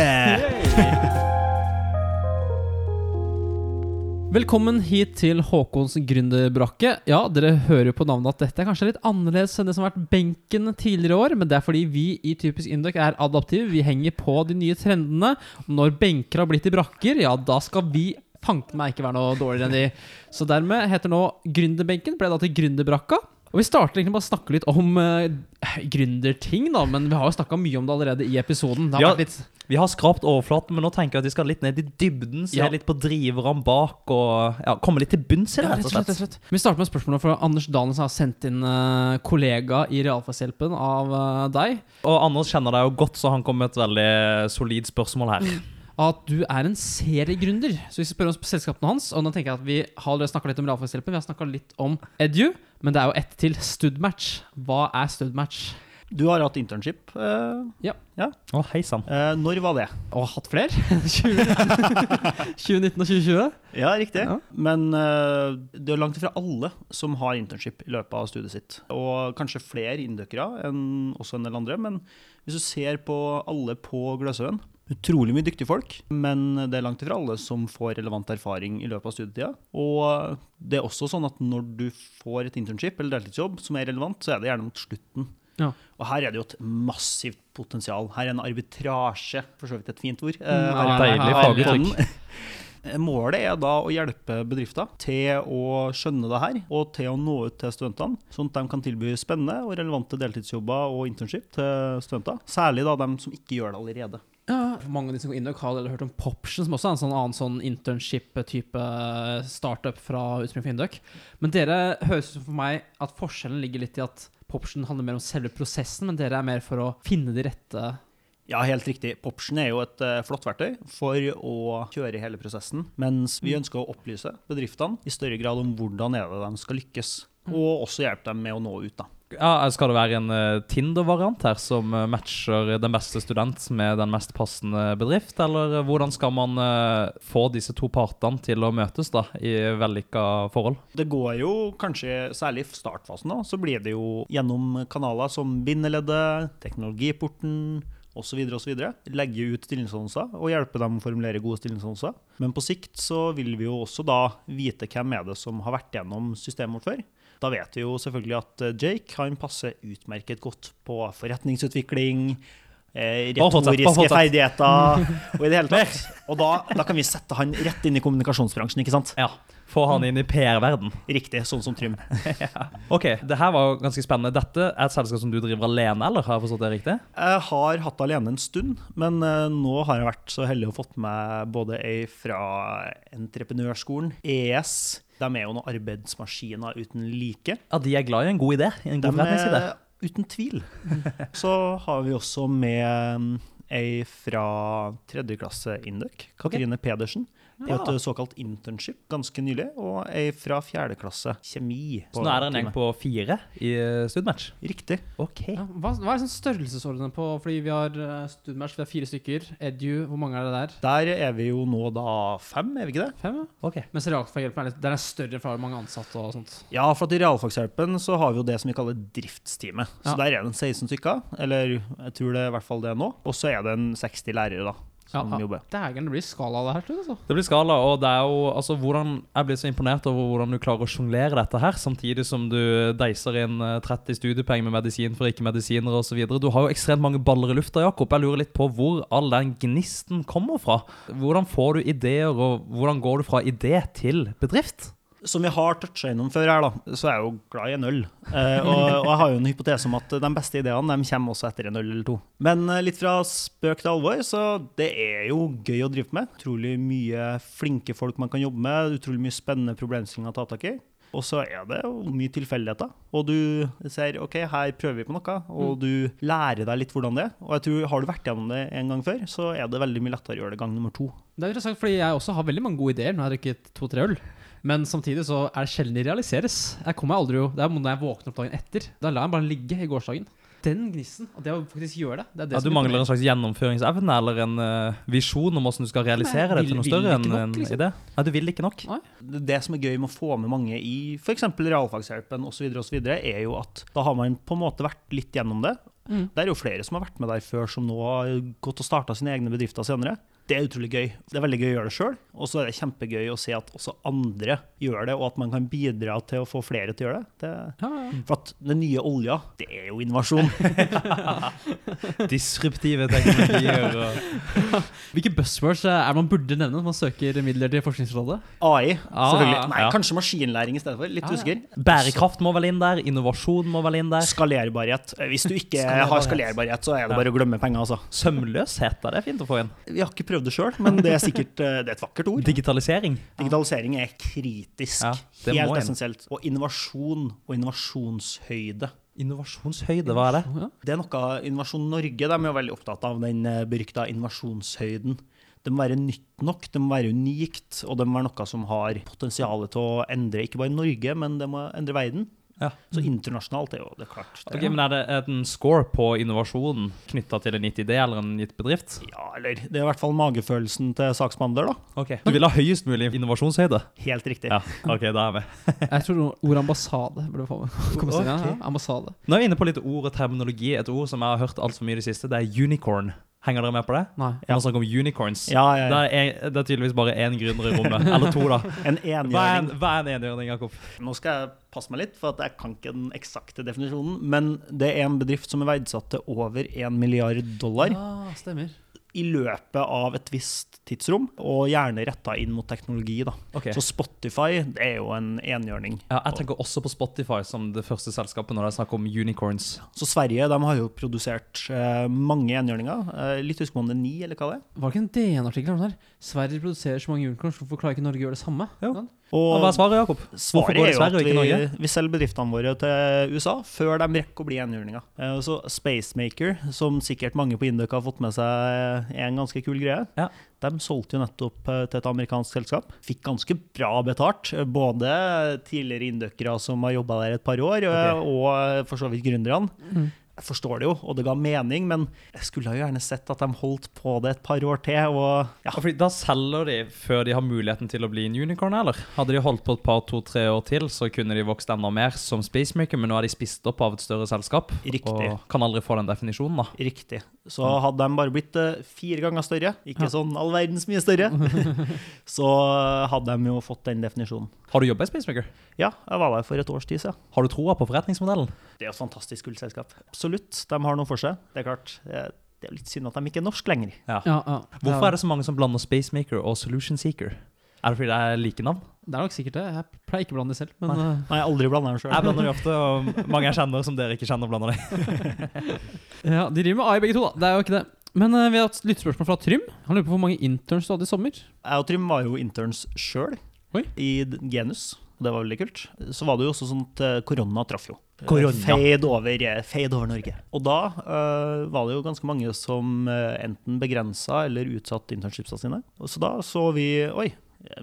D: Velkommen hit til Håkons gründerbrakke. Ja, dere hører jo på navnet at dette er kanskje litt annerledes enn det som har vært benken tidligere år, men det er fordi vi i Typisk Induc er adaptive. Vi henger på de nye trendene. Når benker har blitt til brakker, ja, da skal vi fanken meg ikke være noe dårligere enn de. Så dermed heter nå Gründerbenken ble da til Gründerbrakka. Og vi starter egentlig med å snakke litt om uh, gründerting, da, men vi har jo snakka mye om det allerede i episoden. Det har
A: Ja.
D: vært litt
A: Vi har skrapt overflaten, men nå tenker jeg at vi skal litt ned i dybden. Se
D: Ja.
A: litt på driverne bak og ja, komme litt til bunns i det,
D: Ja,
A: rett og slett.
D: Vi starter med spørsmålet fra Anders Dalen, som har sendt inn eh, kollega i Realfagshjelpen av eh, deg.
A: Og Anders kjenner deg jo godt, så han kom med et veldig solid spørsmål her.
D: At du er en seriegründer. Så vi skal spørre om selskapene hans. Og nå tenker jeg at Vi har allerede snakka litt om Realfagshjelpen, vi har snakka litt om Edu. Men det er jo ett til. Studmatch. Hva er Studmatch?
C: Du har hatt internship. eh,
A: Å, hei sann.
C: eh, når var det?
D: Og hatt flere? 2019 og 2020?
C: Ja, riktig.
D: Ja.
C: Men eh, det er langt ifra alle som har internship i løpet av studiet sitt. Og kanskje flere inndøkere enn også en del andre. Men hvis du ser på alle på Gløshaugen Utrolig mye dyktige folk, men det er langt ifra alle som får relevant erfaring i løpet av studietida. Og det er også sånn at når du får et internship eller deltidsjobb som er relevant, så er det gjerne mot slutten.
D: Ja.
C: Og her er det jo et massivt potensial. Her er en arbitrasje, for så vidt et fint ord. Eh,
D: Mm,
C: her er-
A: Deilig
D: Ja, ja, ja.
A: faguttrykk.
C: Målet er da å hjelpe bedrifter til å skjønne det her, og til å nå ut til studentene, sånn at de kan tilby spennende og relevante deltidsjobber og internship til studenter. Særlig da dem som ikke gjør det allerede.
D: Ja, mange av de som går inn og har eller hørt om Poption, som også er en sånn annen sånn internship-type startup fra Utspring for Induc. Men dere høres ut for meg at forskjellen ligger litt i at Poption handler mer om selve prosessen, men dere er mer for å finne de rette
C: Ja, helt riktig. Poption er jo et eh, flott verktøy for å kjøre hele prosessen, mens vi ønsker å opplyse bedriftene i større grad om hvordan er det de skal lykkes, og også hjelpe dem med å nå ut. da.
A: Ja, skal det være en eh, Tinder-variant her som eh, matcher den beste student med den mest passende bedrift? Eller eh, hvordan skal man eh, få disse to partene til å møtes da, i vellykka forhold?
C: Det går jo kanskje, særlig i startfasen, da, så blir det jo gjennom kanaler som Bindeleddet, Teknologiporten osv. osv. Legge ut stillingsannonser og hjelpe dem å formulere gode stillingsannonser. Men på sikt så vil vi jo også da vite hvem er det som har vært gjennom systemet vårt før. Da vet vi jo selvfølgelig at eh, Jake han passer utmerket godt på forretningsutvikling. Eh,
A: Bare fortsett, bare
C: retoriske
A: fortsett.
C: ferdigheter og i det hele tatt. Og da, da kan vi sette han rett inn i kommunikasjonsbransjen, ikke sant?
A: Ja. Få han inn i PR-verden.
C: Riktig, sånn som Trym.
A: Ok, det her var jo ganske spennende. Dette er et selskap som du driver alene, eller har jeg forstått det riktig?
C: Jeg har hatt det alene en stund, men eh, nå har jeg vært så heldig å fått med både ei fra entreprenørskolen, ES. De er jo noen arbeidsmaskiner uten like.
A: Ja, de er glad i en god idé. i En god
C: De
A: forretningsidé.
C: er uten tvil. Så har vi også med mm, ei fra tredje klasse Indøk, Katrine Pedersen. På
A: Ja.
C: et såkalt internship ganske nylig, og ei fra fjerde klasse kjemi.
A: Så nå er dere en gjeng på fire i eh, studmatch?
C: Riktig.
A: Ok.
D: Ja, hva, hva er sånn størrelsesordenen på Fordi vi har eh, studmatch, vi har fire stykker. Edu, hvor mange er det der?
C: Der er vi jo nå da fem, er vi ikke det?
D: Fem? ja?
A: ok.
D: Mens realfagshjelpen er litt den er større, for da har du mange ansatte og sånt.
C: Ja, for at i realfagshjelpen så har vi jo det som vi kaller driftsteamet. Så
D: Ja.
C: der er det en 16 stykker, eller jeg tror det er i hvert fall det nå. Og så er det en 60 lærere da, som
D: Ja, ja.
C: jobber.
D: Dægeren, det blir skala av det her, tror jeg. Altså.
A: Det blir skala, og det er jo altså, hvordan, Jeg blir så imponert over hvordan du klarer å sjonglere dette her, samtidig som du deiser inn eh, 30 studiepoeng med medisin for ikke-medisinere osv. Du har jo ekstremt mange baller i lufta, Jakob. Jeg lurer litt på hvor all den gnisten kommer fra. Hvordan får du ideer, og hvordan går du fra idé til bedrift?
C: Som vi har toucha innom før her, da, så er jeg jo glad i en øl. Eh, og, og jeg har jo en hypotese om at de beste ideene de kommer også etter en øl eller to. Men eh, litt fra spøk til alvor, så det er jo gøy å drive med. Utrolig mye flinke folk man kan jobbe med, utrolig mye spennende problemstillinger å ta tak i. Og så er det jo mye tilfeldigheter. Og du ser OK, her prøver vi på noe, og du lærer deg litt hvordan det er. Og jeg tror, har du vært gjennom det en gang før, så er det veldig mye lettere å gjøre det gang nummer to.
D: Det er interessant, fordi jeg også har veldig mange gode ideer når jeg har drukket to-tre øl. Men samtidig så er det sjelden de realiseres. Jeg kommer meg aldri jo, Det er når jeg våkner opp dagen etter. Da lar jeg den bare ligge i gårsdagen. Den gnisten, og det å faktisk gjøre det, det er det
A: Ja, du
D: som
A: mangler en slags gjennomføringsevne eller en eh, visjon om hvordan du skal realisere
D: Nei,
A: det til noe
D: vil- vil
A: større
D: ikke
A: enn
D: nok,
A: en
D: liksom.
A: idé. Nei, du vil ikke nok.
C: det det som er gøy med å få med mange i f.eks. realfagshjelpen osv., er jo at da har man på en måte vært litt gjennom det.
D: Mm.
C: Det er jo flere som har vært med der før, som nå har gått og starta sine egne bedrifter senere. Det er utrolig gøy. Det er veldig gøy å gjøre det sjøl, og så er det kjempegøy å se at også andre gjør det, og at man kan bidra til å få flere til å gjøre det.
A: sånn.
C: det
D: Ja, ja.
C: for at den nye olja, det er jo innovasjon.
A: Disruptive teknologier og
D: Hvilke buzzwords eh, er det man burde nevne når man søker midler til Forskningsrådet?
C: AI,
A: Ah,
C: selvfølgelig. Nei,
A: ja. Ah,
C: kanskje maskinlæring i stedet for. Litt
D: Ja, ja.
C: usikker.
A: Bærekraft må vel inn der, innovasjon må vel inn der.
C: Skalerbarhet. Hvis du ikke har
A: Skalerbarhet.
C: skalerbarhet, så er det bare å glemme penger, altså.
A: Sømløshet er det fint å få inn.
C: Vi har ikke prøvd det sjøl, men det er sikkert eh, det er et vakkert ord.
A: Digitalisering.
C: Digitalisering er kritisk.
A: Ja, det må
C: helt
A: en.
C: essensielt. Og innovasjon og innovasjonshøyde.
A: Innovasjonshøyde, hva er det?
D: Ja.
C: Det er noe Innovasjon Norge de er jo veldig opptatt av, den eh, berykta innovasjonshøyden. Det må være nytt nok, det må være unikt, og det må være noe som har potensial til å endre ikke bare Norge, men det må endre verden.
A: Ja.
C: Så internasjonalt er jo det klart. Det
A: Ok, men Er det en score på innovasjon knytta til en gitt idé eller en gitt bedrift?
C: Ja, eller Det er i hvert fall magefølelsen til saksbehandler, da.
A: Ok. Du vil ha høyest mulig innovasjonshøyde?
C: Helt riktig.
A: Ja, ok, da er vi.
D: Jeg tror ordet ambassade burde få komme seg inn. Ja, ja, ambassade.
A: Nå er vi inne på litt ord og terminologi. Et ord som jeg har hørt altfor mye i det siste, det er unicorn. Henger dere med på det?
D: Nei.
A: Når man snakker om unicorns.
C: Ja, ja,
A: Det,
C: ja.
A: er, det er tydeligvis bare én gründer i rommet. Eller to, da.
C: En
A: Hva er
C: enhjørning.
A: en, hva er en enhjørning, Jakob?
C: Nå skal jeg passe meg litt, for at jeg kan ikke den eksakte definisjonen. Men det er en bedrift som er verdsatt til over 1 milliard dollar
D: Ja, Ah, stemmer.
C: i løpet av et visst tidsrom, og gjerne retta inn mot teknologi. da.
A: Ok.
C: Så Spotify det er jo en enhjørning.
A: Ja, jeg tenker også på Spotify som det første selskapet når det er snakk om unicorns.
C: Så Sverige de har jo produsert eh, mange enhjørninger. Eh, litt husker man det er ni, eller hva det er.
D: Var det ikke en DN-artikkel om det her? Sverige produserer så mange unicorns, hvorfor klarer ikke Norge å gjøre det samme?
A: Jo.
D: Sånn?
A: Og hva er svaret, Jakob? Hvorfor
C: Svaret
A: går
C: er jo
A: Sverige
C: at
A: og ikke
C: vi,
A: Norge?
C: vi selger bedriftene våre til USA før de rekker å bli enhjørninger. Eh, Så Spacemaker, som sikkert mange på Indøk har fått med seg er en ganske kul greie,
A: Ja.
C: de solgte jo nettopp eh, til et amerikansk selskap. Fikk ganske bra betalt. eh, Både tidligere indøkere som har jobba der et par år, eh,
A: Ok.
C: og eh, for så vidt gründerne.
D: Mm.
C: Jeg forstår det jo, og det ga mening, men jeg skulle jo gjerne sett at de holdt på det et par år til. og ja.
A: Ja, fordi Da selger de før de har muligheten til å bli en unicorn, eller? Hadde de holdt på et par, to-tre år til, så kunne de vokst enda mer som Spacemaker, men nå er de spist opp av et større selskap.
C: Riktig.
A: Og kan aldri få den definisjonen, da.
C: Riktig. Så hadde de bare blitt eh, fire ganger større, ikke sånn all verdens mye større, så hadde de jo fått den definisjonen.
A: Har du jobba i Spacemaker?
C: Ja, jeg var der for et års tid siden.
A: Har du troa på forretningsmodellen?
C: Det er jo et fantastisk kult selskap. Absolutt, de har noe for seg. Det er klart, eh, det er jo litt synd at de ikke er norsk lenger.
D: Ja, ja.
A: Hvorfor er det så mange som blander Spacemaker og Solution Seeker? Er det fordi det er like navn?
D: Det er nok sikkert det. Jeg pleier ikke å blande det selv, men
A: Nei.
D: eh,
C: Nei, jeg aldri blander den
A: Jeg
C: sjøl.
A: blander de ofte, og mange jeg kjenner som dere ikke kjenner, blander de.
D: Ja, De driver med AI begge to, da. Det er jo ikke det. Men eh, vi har hatt lyttespørsmål fra Trym. Han lurer på hvor mange interns du hadde i sommer.
C: Jeg og Trym var jo interns sjøl
D: Oi.
C: i d- Genus. og Det var veldig kult. Så var det jo også sånn at eh, korona traff jo.
A: Korona.
C: Fade over, eh, fade over Norge. Og da eh, var det jo ganske mange som eh, enten begrensa eller utsatte internshipsa sine. Og så da så vi Oi,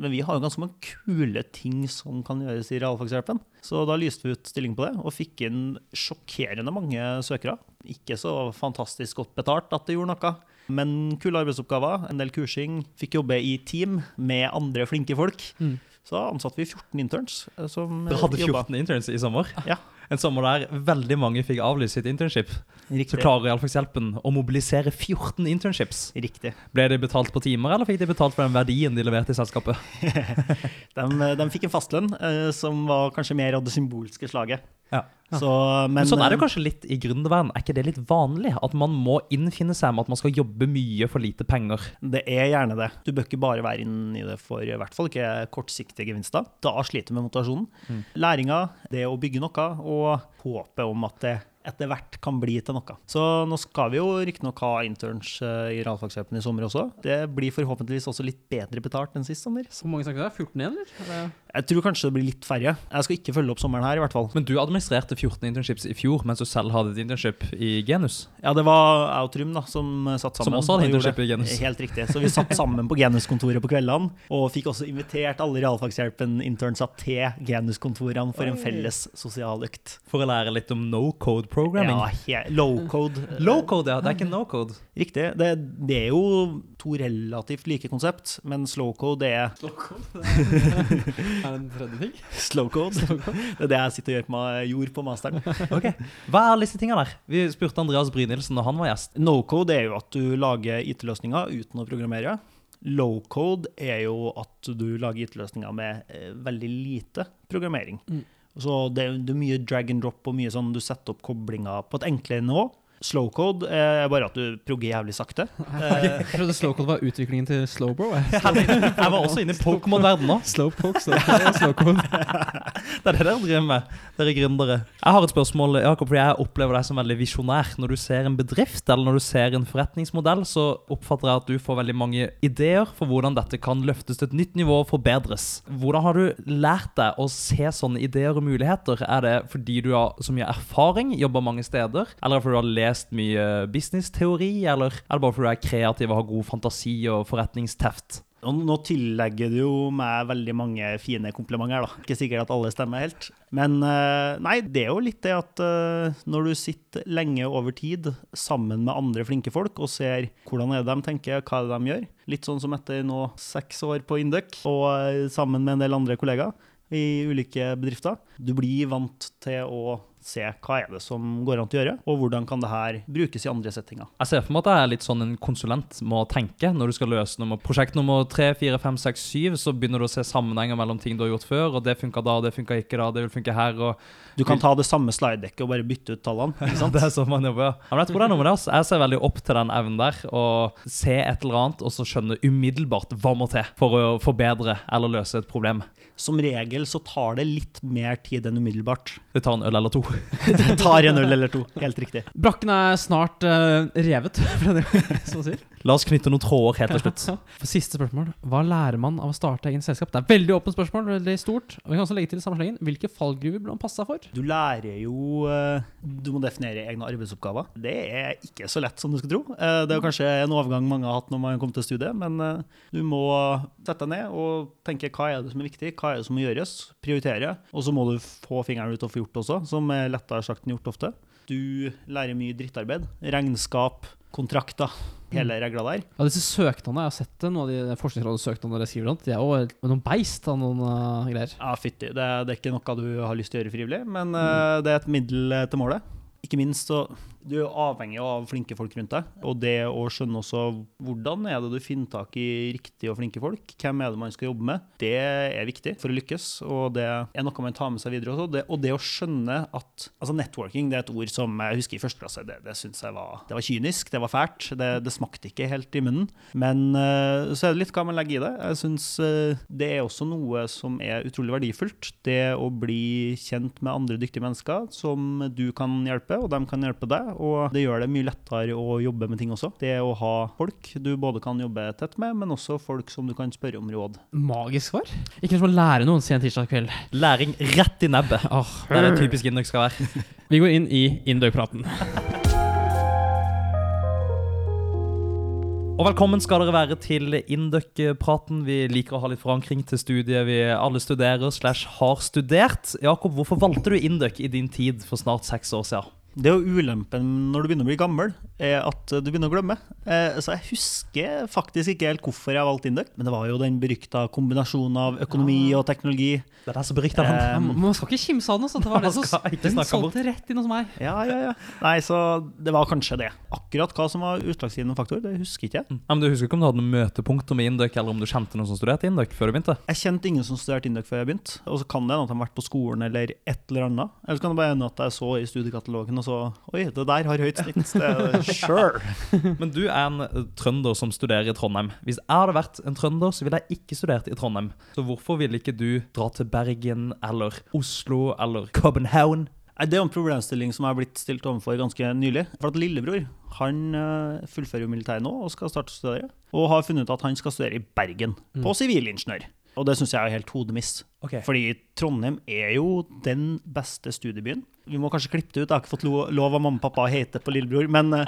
C: men vi har jo ganske mange kule ting som kan gjøres i realfagshjelpen. Så da lyste vi ut stilling på det, og fikk inn sjokkerende mange søkere. Ikke så fantastisk godt betalt at det gjorde noe. Men kule arbeidsoppgaver, en del kursing. Fikk jobbe i team med andre flinke folk.
D: Mm.
C: Så da ansatte vi 14 interns. eh, Som
A: Dere hadde
C: jobba.
A: 14 interns i sommer.
C: Ja.
A: En sommer der veldig mange fikk avlyst sitt internship. Så
C: Riktig.
A: klarer Realfagshjelpen å mobilisere 14 internships.
C: Riktig.
A: Ble de betalt på timer, eller fikk de betalt for den verdien de leverte i selskapet?
C: De, de fikk en fastlønn eh, som var kanskje mer av det symbolske slaget.
A: Ja.
C: Så, men, eh,
A: Men, sånn er det jo kanskje litt i gründerverden. Er ikke det litt vanlig? At man må innfinne seg med at man skal jobbe mye for lite penger.
C: Det er gjerne det. Du bør ikke bare være inn i det for i hvert fall ikke kortsiktige gevinster. Da sliter du med motivasjonen.
A: Mm.
C: Læringa, det å bygge noe, og håpet om at det etter hvert kan bli til noe. Så nå skal vi jo riktignok ha interns eh, i realfagshjelpen i sommer også. Det blir forhåpentligvis også litt bedre betalt enn sist sommer.
D: Hvor mange snakker vi om? 14 igjen, eller? Er det-
C: Jeg tror kanskje det blir litt færre. Jeg skal ikke følge opp sommeren her, i hvert fall.
A: Men du administrerte 14 internships i fjor, mens du selv hadde et internship i Genus.
C: Ja, det var jeg og Trym da, som eh, satt
A: Som
C: sammen.
A: også hadde
C: og gjorde
A: internship i Genus.
C: det. Helt riktig. Så vi satt sammen på Genus-kontoret på kveldene, og fikk også invitert alle realfagshjelpen-internsa til Genus-kontorene for en felles sosial økt.
A: For å lære litt om no code programming.
C: Ja, he- low-code. eh,
A: Low code, ja. Det er ikke no code.
C: Riktig. Det, det er jo to relativt like konsept, men slow-code er
D: Er det en tredje ting?
C: slow-code. Det er det jeg sitter og gjør på ma- gjorde på masteren.
A: Hva er alle disse tinga der? Vi spurte Andreas Brynildsen når han var gjest.
C: No-code er jo at du lager IT-løsninger uten å programmere. Low-code er jo at du lager IT-løsninger med eh, veldig lite programmering.
D: Mm.
C: Så det er, det er mye drag and drop og mye sånn du setter opp koblinger på et enklere nivå. Slow-code eh, er bare at du progger jævlig sakte.
D: Jeg trodde slowcode var utviklingen til slowbro. jeg.
A: Jeg var også inne i Pokémon-verdenen nå.
D: Slowpoke, slowcode, slowcode.
A: Det er det dere driver med, dere gründere. Jeg har et spørsmål, Jakob, fordi jeg opplever deg som veldig visjonær. Når du ser en bedrift eller når du ser en forretningsmodell, så oppfatter jeg at du får veldig mange ideer for hvordan dette kan løftes til et nytt nivå og forbedres. Hvordan har du lært deg å se sånne ideer og muligheter? Er det fordi du har så mye erfaring, jobber mange steder, eller er det fordi du har lest mye business-teori, eller er det bare fordi du er kreativ og har god fantasi og forretningsteft?
C: Og nå tillegger du jo meg veldig mange fine komplimenter, da. Ikke sikkert at alle stemmer helt. Men eh, nei, det er jo litt det at eh, når du sitter lenge over tid sammen med andre flinke folk og ser hvordan er det de tenker, hva er det de gjør, litt sånn som etter nå seks år på Induc og eh, sammen med en del andre kollegaer i ulike bedrifter, du blir vant til å se hva er det som går an til å gjøre, og hvordan kan det her brukes i andre settinger.
A: Jeg ser for meg at jeg er litt sånn en konsulent må tenke når du skal løse nummer, prosjekt nummer 3, 4, 5, 6, 7, så begynner du å se sammenhenger mellom ting du har gjort før, og det funka da, det funka ikke da, det vil funke her, og
C: Du kan ta det samme slidedekket og bare bytte ut tallene. ikke sant?
A: Det er sånn man jobber, ja. Ja, Men jeg tror det er noe med det, ass. Jeg ser veldig opp til den evnen der, å se et eller annet, og så skjønne umiddelbart hva må til for å forbedre eller løse et problem.
C: Som regel så tar det litt mer tid enn umiddelbart.
A: Det tar en øl eller to.
C: Det tar en øl eller to. Helt riktig.
D: Brakken er snart eh, revet, for det er sånn å si.
A: La oss knytte noen tråder helt til slutt.
D: For siste spørsmål. Hva lærer man av å starte egen selskap? Det er veldig åpent spørsmål, veldig stort. Og vi kan også legge til i samme slengen hvilke fallgruver burde man passe seg for?
C: Du lærer jo eh, Du må definere egne arbeidsoppgaver. Det er ikke så lett som du skal tro. Eh, Det er jo kanskje en overgang mange har hatt når man kom til studiet, men eh, du må sette deg ned og tenke hva er det som er viktig, hva er det som må gjøres, prioritere. Og så må du få fingeren ut og få gjort det også, som er lettere sagt enn gjort ofte. Du lærer mye drittarbeid. Regnskap, kontrakter, hele regla der.
D: Ja, disse søknadene, jeg har sett det, noen av de Forskningsrådet-søknadene dere skriver om, de er jo noen beist av noen eh, greier.
C: Ja, fytti. Det, er- det er ikke noe du har lyst til å gjøre frivillig, men eh, det er et middel eh, til målet. Ikke minst så Du er jo avhengig av flinke folk rundt deg. Og det å skjønne også hvordan er det du finner tak i riktige og flinke folk, hvem er det man skal jobbe med, det er viktig for å lykkes. Og det er noe man tar med seg videre også. Det, og det å skjønne at altså Networking det er et ord som jeg husker i første klasse, det, det synes jeg var, det var kynisk, det var fælt. Det, det smakte ikke helt i munnen. Men eh, så er det litt hva man legger i det. Jeg synes eh, det er også noe som er utrolig verdifullt. Det å bli kjent med andre dyktige mennesker som du kan hjelpe, og de kan hjelpe deg. Og det gjør det mye lettere å jobbe med ting også. Det å ha folk du både kan jobbe tett med, men også folk som du kan spørre om råd.
D: Magisk svar. Ikke som å lære noen sen tirsdag kveld.
A: Læring rett i nebbet.
D: Åh,
A: Det er det typisk Indøk skal være.
D: Vi går inn i Indøy-praten.
A: Og velkommen skal dere være til Indøk-praten. Vi liker å ha litt forankring til studiet vi alle studerer slash har studert. Jakob, hvorfor valgte du Indøk i din tid for snart seks år siden?
C: Det er jo ulempen når du begynner å bli gammel, er at du begynner å glemme. Eh, Så jeg husker faktisk ikke helt hvorfor jeg valgte Indøk, men det var jo den berykta kombinasjonen av økonomi og teknologi.
A: Det er der som berykter han.
D: Ja, Eh, men Man skal ikke kimse av den. altså. Det
A: Man
D: var det som
A: skal ikke
D: den
A: snakke om
D: solgte rett inn hos meg.
C: Ja, ja, ja. Nei, så det var kanskje det. Akkurat hva som var utslagsgivende faktor, det husker ikke jeg.
A: Ja, men Du husker ikke om du hadde noen møtepunkter med Indøk, eller om du kjente noen som studerte Indøk før du begynte?
C: Jeg kjente ingen som studerte Indøk før jeg begynte. Og så kan det hende at de har vært på skolen eller et eller annet. Eller så kan det bare hende at jeg så i studiekatalogen og så Oi, det der har høyt snitt. Det- Sure.
A: Men du er en eh, trønder som studerer i Trondheim. Hvis jeg hadde vært en trønder, så ville jeg ikke studert i Trondheim. Så hvorfor ville ikke du dra til Bergen eller Oslo eller København?
C: Nei, Det er jo en problemstilling som jeg har blitt stilt overfor ganske nylig. For at lillebror han eh, fullfører jo militæret nå og skal starte å studere. Og har funnet ut at han skal studere i Bergen, på sivilingeniør. Og det syns jeg er helt hodemist.
A: Ok.
C: Fordi Trondheim er jo den beste studiebyen. Vi må kanskje klippe det ut, jeg har ikke fått lo lov av mamma og pappa å hete på lillebror, men eh,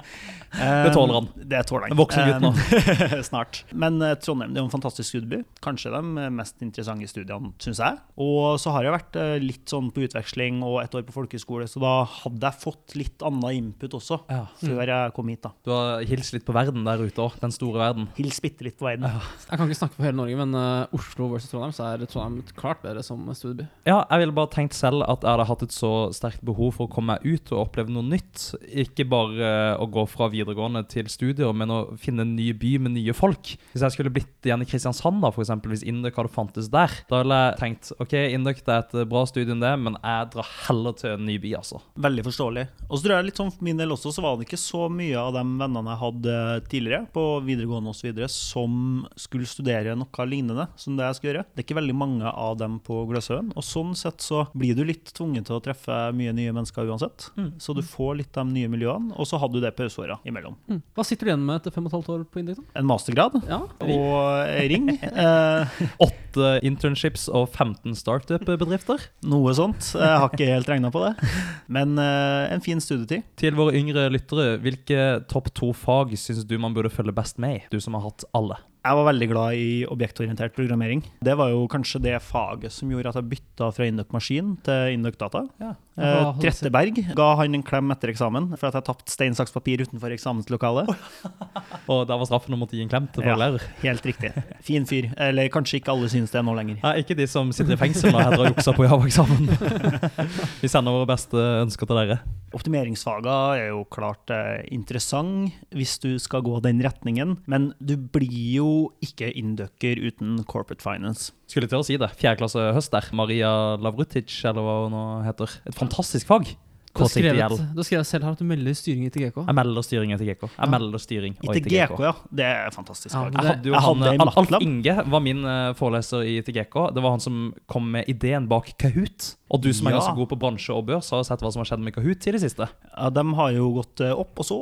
A: Det tåler han.
C: Det tåler han.
A: En voksen gutt nå.
C: Eh, Snart. Men eh, Trondheim det er jo en fantastisk studieby. Kanskje de mest interessante studiene, syns jeg. Og så har jeg vært eh, litt sånn på utveksling og et år på folkehøyskole, så da hadde jeg fått litt annen input også,
A: Ja.
C: før jeg kom hit, da.
A: Du har hilst litt på verden der ute òg. Den store verden.
C: Hils bitte litt på verden.
D: Jeg kan ikke snakke for hele Norge, men eh, Oslo versus Trondheim, så er Trondheim klart bedre som studieby.
A: Ja, jeg ville bare tenkt selv at jeg hadde hatt et så sterkt behov for å komme meg ut og oppleve noe nytt. Ikke bare eh, å gå fra videregående til studier, men å finne en ny by med nye folk. Hvis jeg skulle blitt igjen i Kristiansand, da, for eksempel, hvis Indøk hadde fantes der, da ville jeg tenkt OK, Indøk det er et eh, bra studium, det, men jeg drar heller til en ny by, altså.
C: Veldig forståelig. Og så tror jeg litt sånn for min del også, så var det ikke så mye av de vennene jeg hadde eh, tidligere, på videregående osv., videre, som skulle studere noe lignende som det jeg skal gjøre. Det er ikke veldig mange av dem på Gløshaugen. Og sånn sett så blir du litt tvunget til å treffe mye nye mennesker uansett. Så du får litt de nye miljøene, og så hadde du det pauseåra imellom.
D: Hva sitter du igjen med etter fem og et halvt år på Indøk? da?
C: En mastergrad
D: Mm. Ja, rik.
C: og ring. Eh,
A: Åtte internships og 15 startup-bedrifter.
C: noe sånt. Jeg har ikke helt regna på det. Men eh, en fin studietid.
A: Til våre yngre lyttere, hvilke topp to fag syns du man burde følge best med i? Du som har hatt alle.
C: Jeg var veldig glad i objektorientert programmering. Det var jo kanskje det faget som gjorde at jeg bytta fra Indøk Maskin til Indøk Data. Eh,
D: Hva-
C: Tretteberg ga han en klem etter eksamen for at jeg tapte stein, saks, papir utenfor eksamenslokalet.
A: Og der var straffen å måtte gi en klem til
C: Ja.
A: forlærer.
C: Helt riktig. Fin fyr. Eller kanskje ikke alle syns det nå lenger.
A: Nei, ikke de som sitter i fengsel og heter å juksa på Java-eksamen. Vi sender våre beste ønsker til dere.
C: Optimeringsfaga er jo klart eh, interessant hvis du skal gå den retningen, men du blir jo ikke Indøker uten corporate finance.
A: Skulle til å si det. Fjerde klasse høst der. Maria Lavrutic, eller hva hun nå heter. Et fantastisk fag.
D: Du har
A: Kortsiktig
D: skrevet,
A: gjeld.
D: du har skrevet selv her at du melder styringen til GK.
A: Jeg melder styring til GK. Jeg melder styring og
C: Ikke GK, ja. Det er fantastisk.
D: Ja,
C: fag.
D: men
A: Jeg hadde jo
C: Jeg hadde en
A: han, Alf
C: matlab.
A: Inge var min eh, foreleser i TGK. Det var han som kom med ideen bak Kahoot. Og du som er
C: Ja.
A: ganske god på bransje og børs, har sett hva som har skjedd med Kahoot i det siste.
C: Ja, de har jo gått eh, opp, og så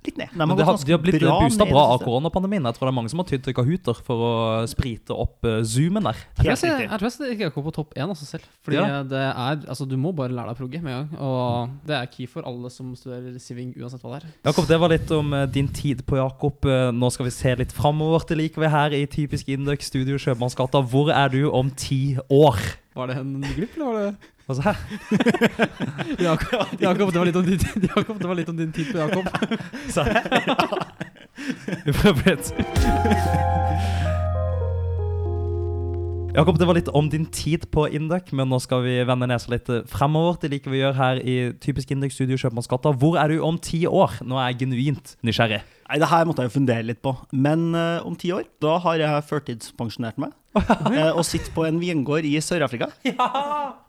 C: litt ned. De har,
A: Men det har, de
C: gått
A: har
C: ganske
A: blitt
C: bra
A: boosta
C: ned i
A: bra
C: det
A: av
C: siste.
A: koronapandemien. Jeg tror det er mange som har tydd til Kahooter for å sprite opp eh, zoomen der.
D: Jeg tror jeg,
C: Helt
D: ser-
C: riktig.
D: jeg tror jeg setter GK på topp én altså selv. Fordi
A: Ja.
D: det er, altså Du må bare lære deg å progge med en gang. Og det er key for alle som studerer siving, uansett hva det er.
A: Jakob, det var litt om eh, din tid på Jakob. Eh, Nå skal vi se litt framover. Det liker vi her i typisk Indøk Studio Sjømannsgata. Hvor er du om ti år?
D: Var det en glipp, eller var det
A: Altså her.
D: Jakob, Jakob, det var litt om din tid, Jakob, det var litt om din tid på Jakob.
A: Så Vi prøver litt. Jakob, det var litt om din tid på Indøk, men nå skal vi vende nesa litt eh, fremover. Det liker vi gjør her i typisk Indøk Studio Kjøpmannsgata. Hvor er du om ti år? Nå er jeg genuint nysgjerrig.
C: Nei, det her måtte jeg jo fundere litt på. Men eh, om ti år, da har jeg førtidspensjonert meg. eh, og sitter på en vingård i Sør-Afrika.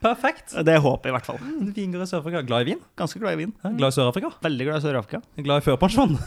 A: Perfekt.
C: Det er håpet, i hvert fall.
A: Vingård i Sør-Afrika. Glad i vin?
C: Ganske glad i vin.
A: Hæ? Glad i Sør-Afrika?
C: Veldig glad i Sør-Afrika.
A: Glad i førpensjon?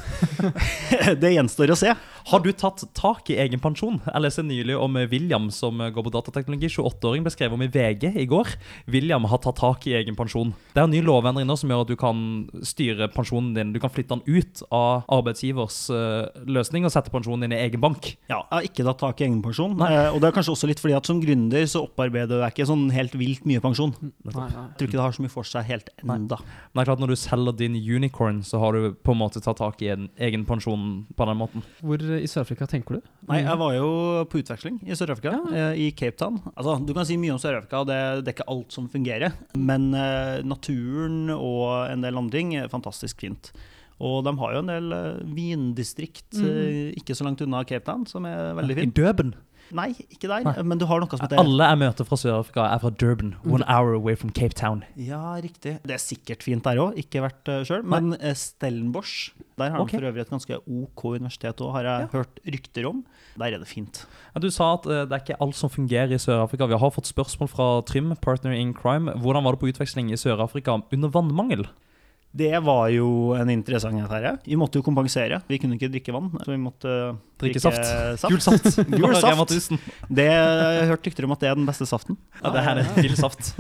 C: det gjenstår å se.
A: Har du tatt tak i egen pensjon? Jeg leste nylig om eh, William som går på datateknologi. 28-åring ble skrevet om i VG i går. William har tatt tak i egen pensjon. Det er en ny lovendring nå som gjør at du kan styre pensjonen din. Du kan flytte den ut av arbeidsgivers eh, løsning og sette pensjonen din i egen bank.
C: Ja, jeg har ikke tatt tak i egenpensjon. Eh, og det er kanskje også litt fordi at som gründer så opparbeider du deg ikke sånn helt vilt mye pensjon.
D: Nei, nei.
C: Jeg tror ikke det har så mye for seg helt enda.
A: Men det er klart når du selger din unicorn, så har du på en måte tatt tak i en egen pensjon på den måten.
D: Hvor eh, i Sør-Afrika tenker du?
C: Nei,
A: Mm.
C: jeg var jo på utveksling i Sør-Afrika, eh, i Cape Town. Altså, du kan si mye om Sør-Afrika, og det, det er ikke alt som fungerer. Men eh, naturen og en del andre ting er fantastisk fint. Og de har jo en del eh, vindistrikt
A: Mm.
C: eh, ikke så langt unna Cape Town, som er veldig
A: I
C: fint.
A: Durban.
C: Nei, ikke der,
A: Nei.
C: men du har noe som heter
A: Alle jeg møter fra Sør-Afrika, er fra Durban. One hour away from Cape Town.
C: Ja, riktig. Det er sikkert fint der òg, ikke vært uh, sjøl.
A: Nei.
C: Men eh, Stellenbosch, der har
A: Ok.
C: de for øvrig et ganske OK universitet òg, har jeg hørt rykter om. Der er det fint.
A: Ja, Du sa at eh, det er ikke alt som fungerer i Sør-Afrika. Vi har fått spørsmål fra Trym, partner in crime. Hvordan var det på utveksling i Sør-Afrika under vannmangel?
C: Det var jo en interessant affære. Vi måtte jo kompensere. Vi kunne ikke drikke vann, så vi måtte eh,
A: Drikke saft.
C: saft.
A: Gul saft.
C: Gul
A: Bare
C: saft.
A: Rema 1000.
C: Det jeg har hørt rykter om at det er den beste saften.
A: Ja, det her er vill saft.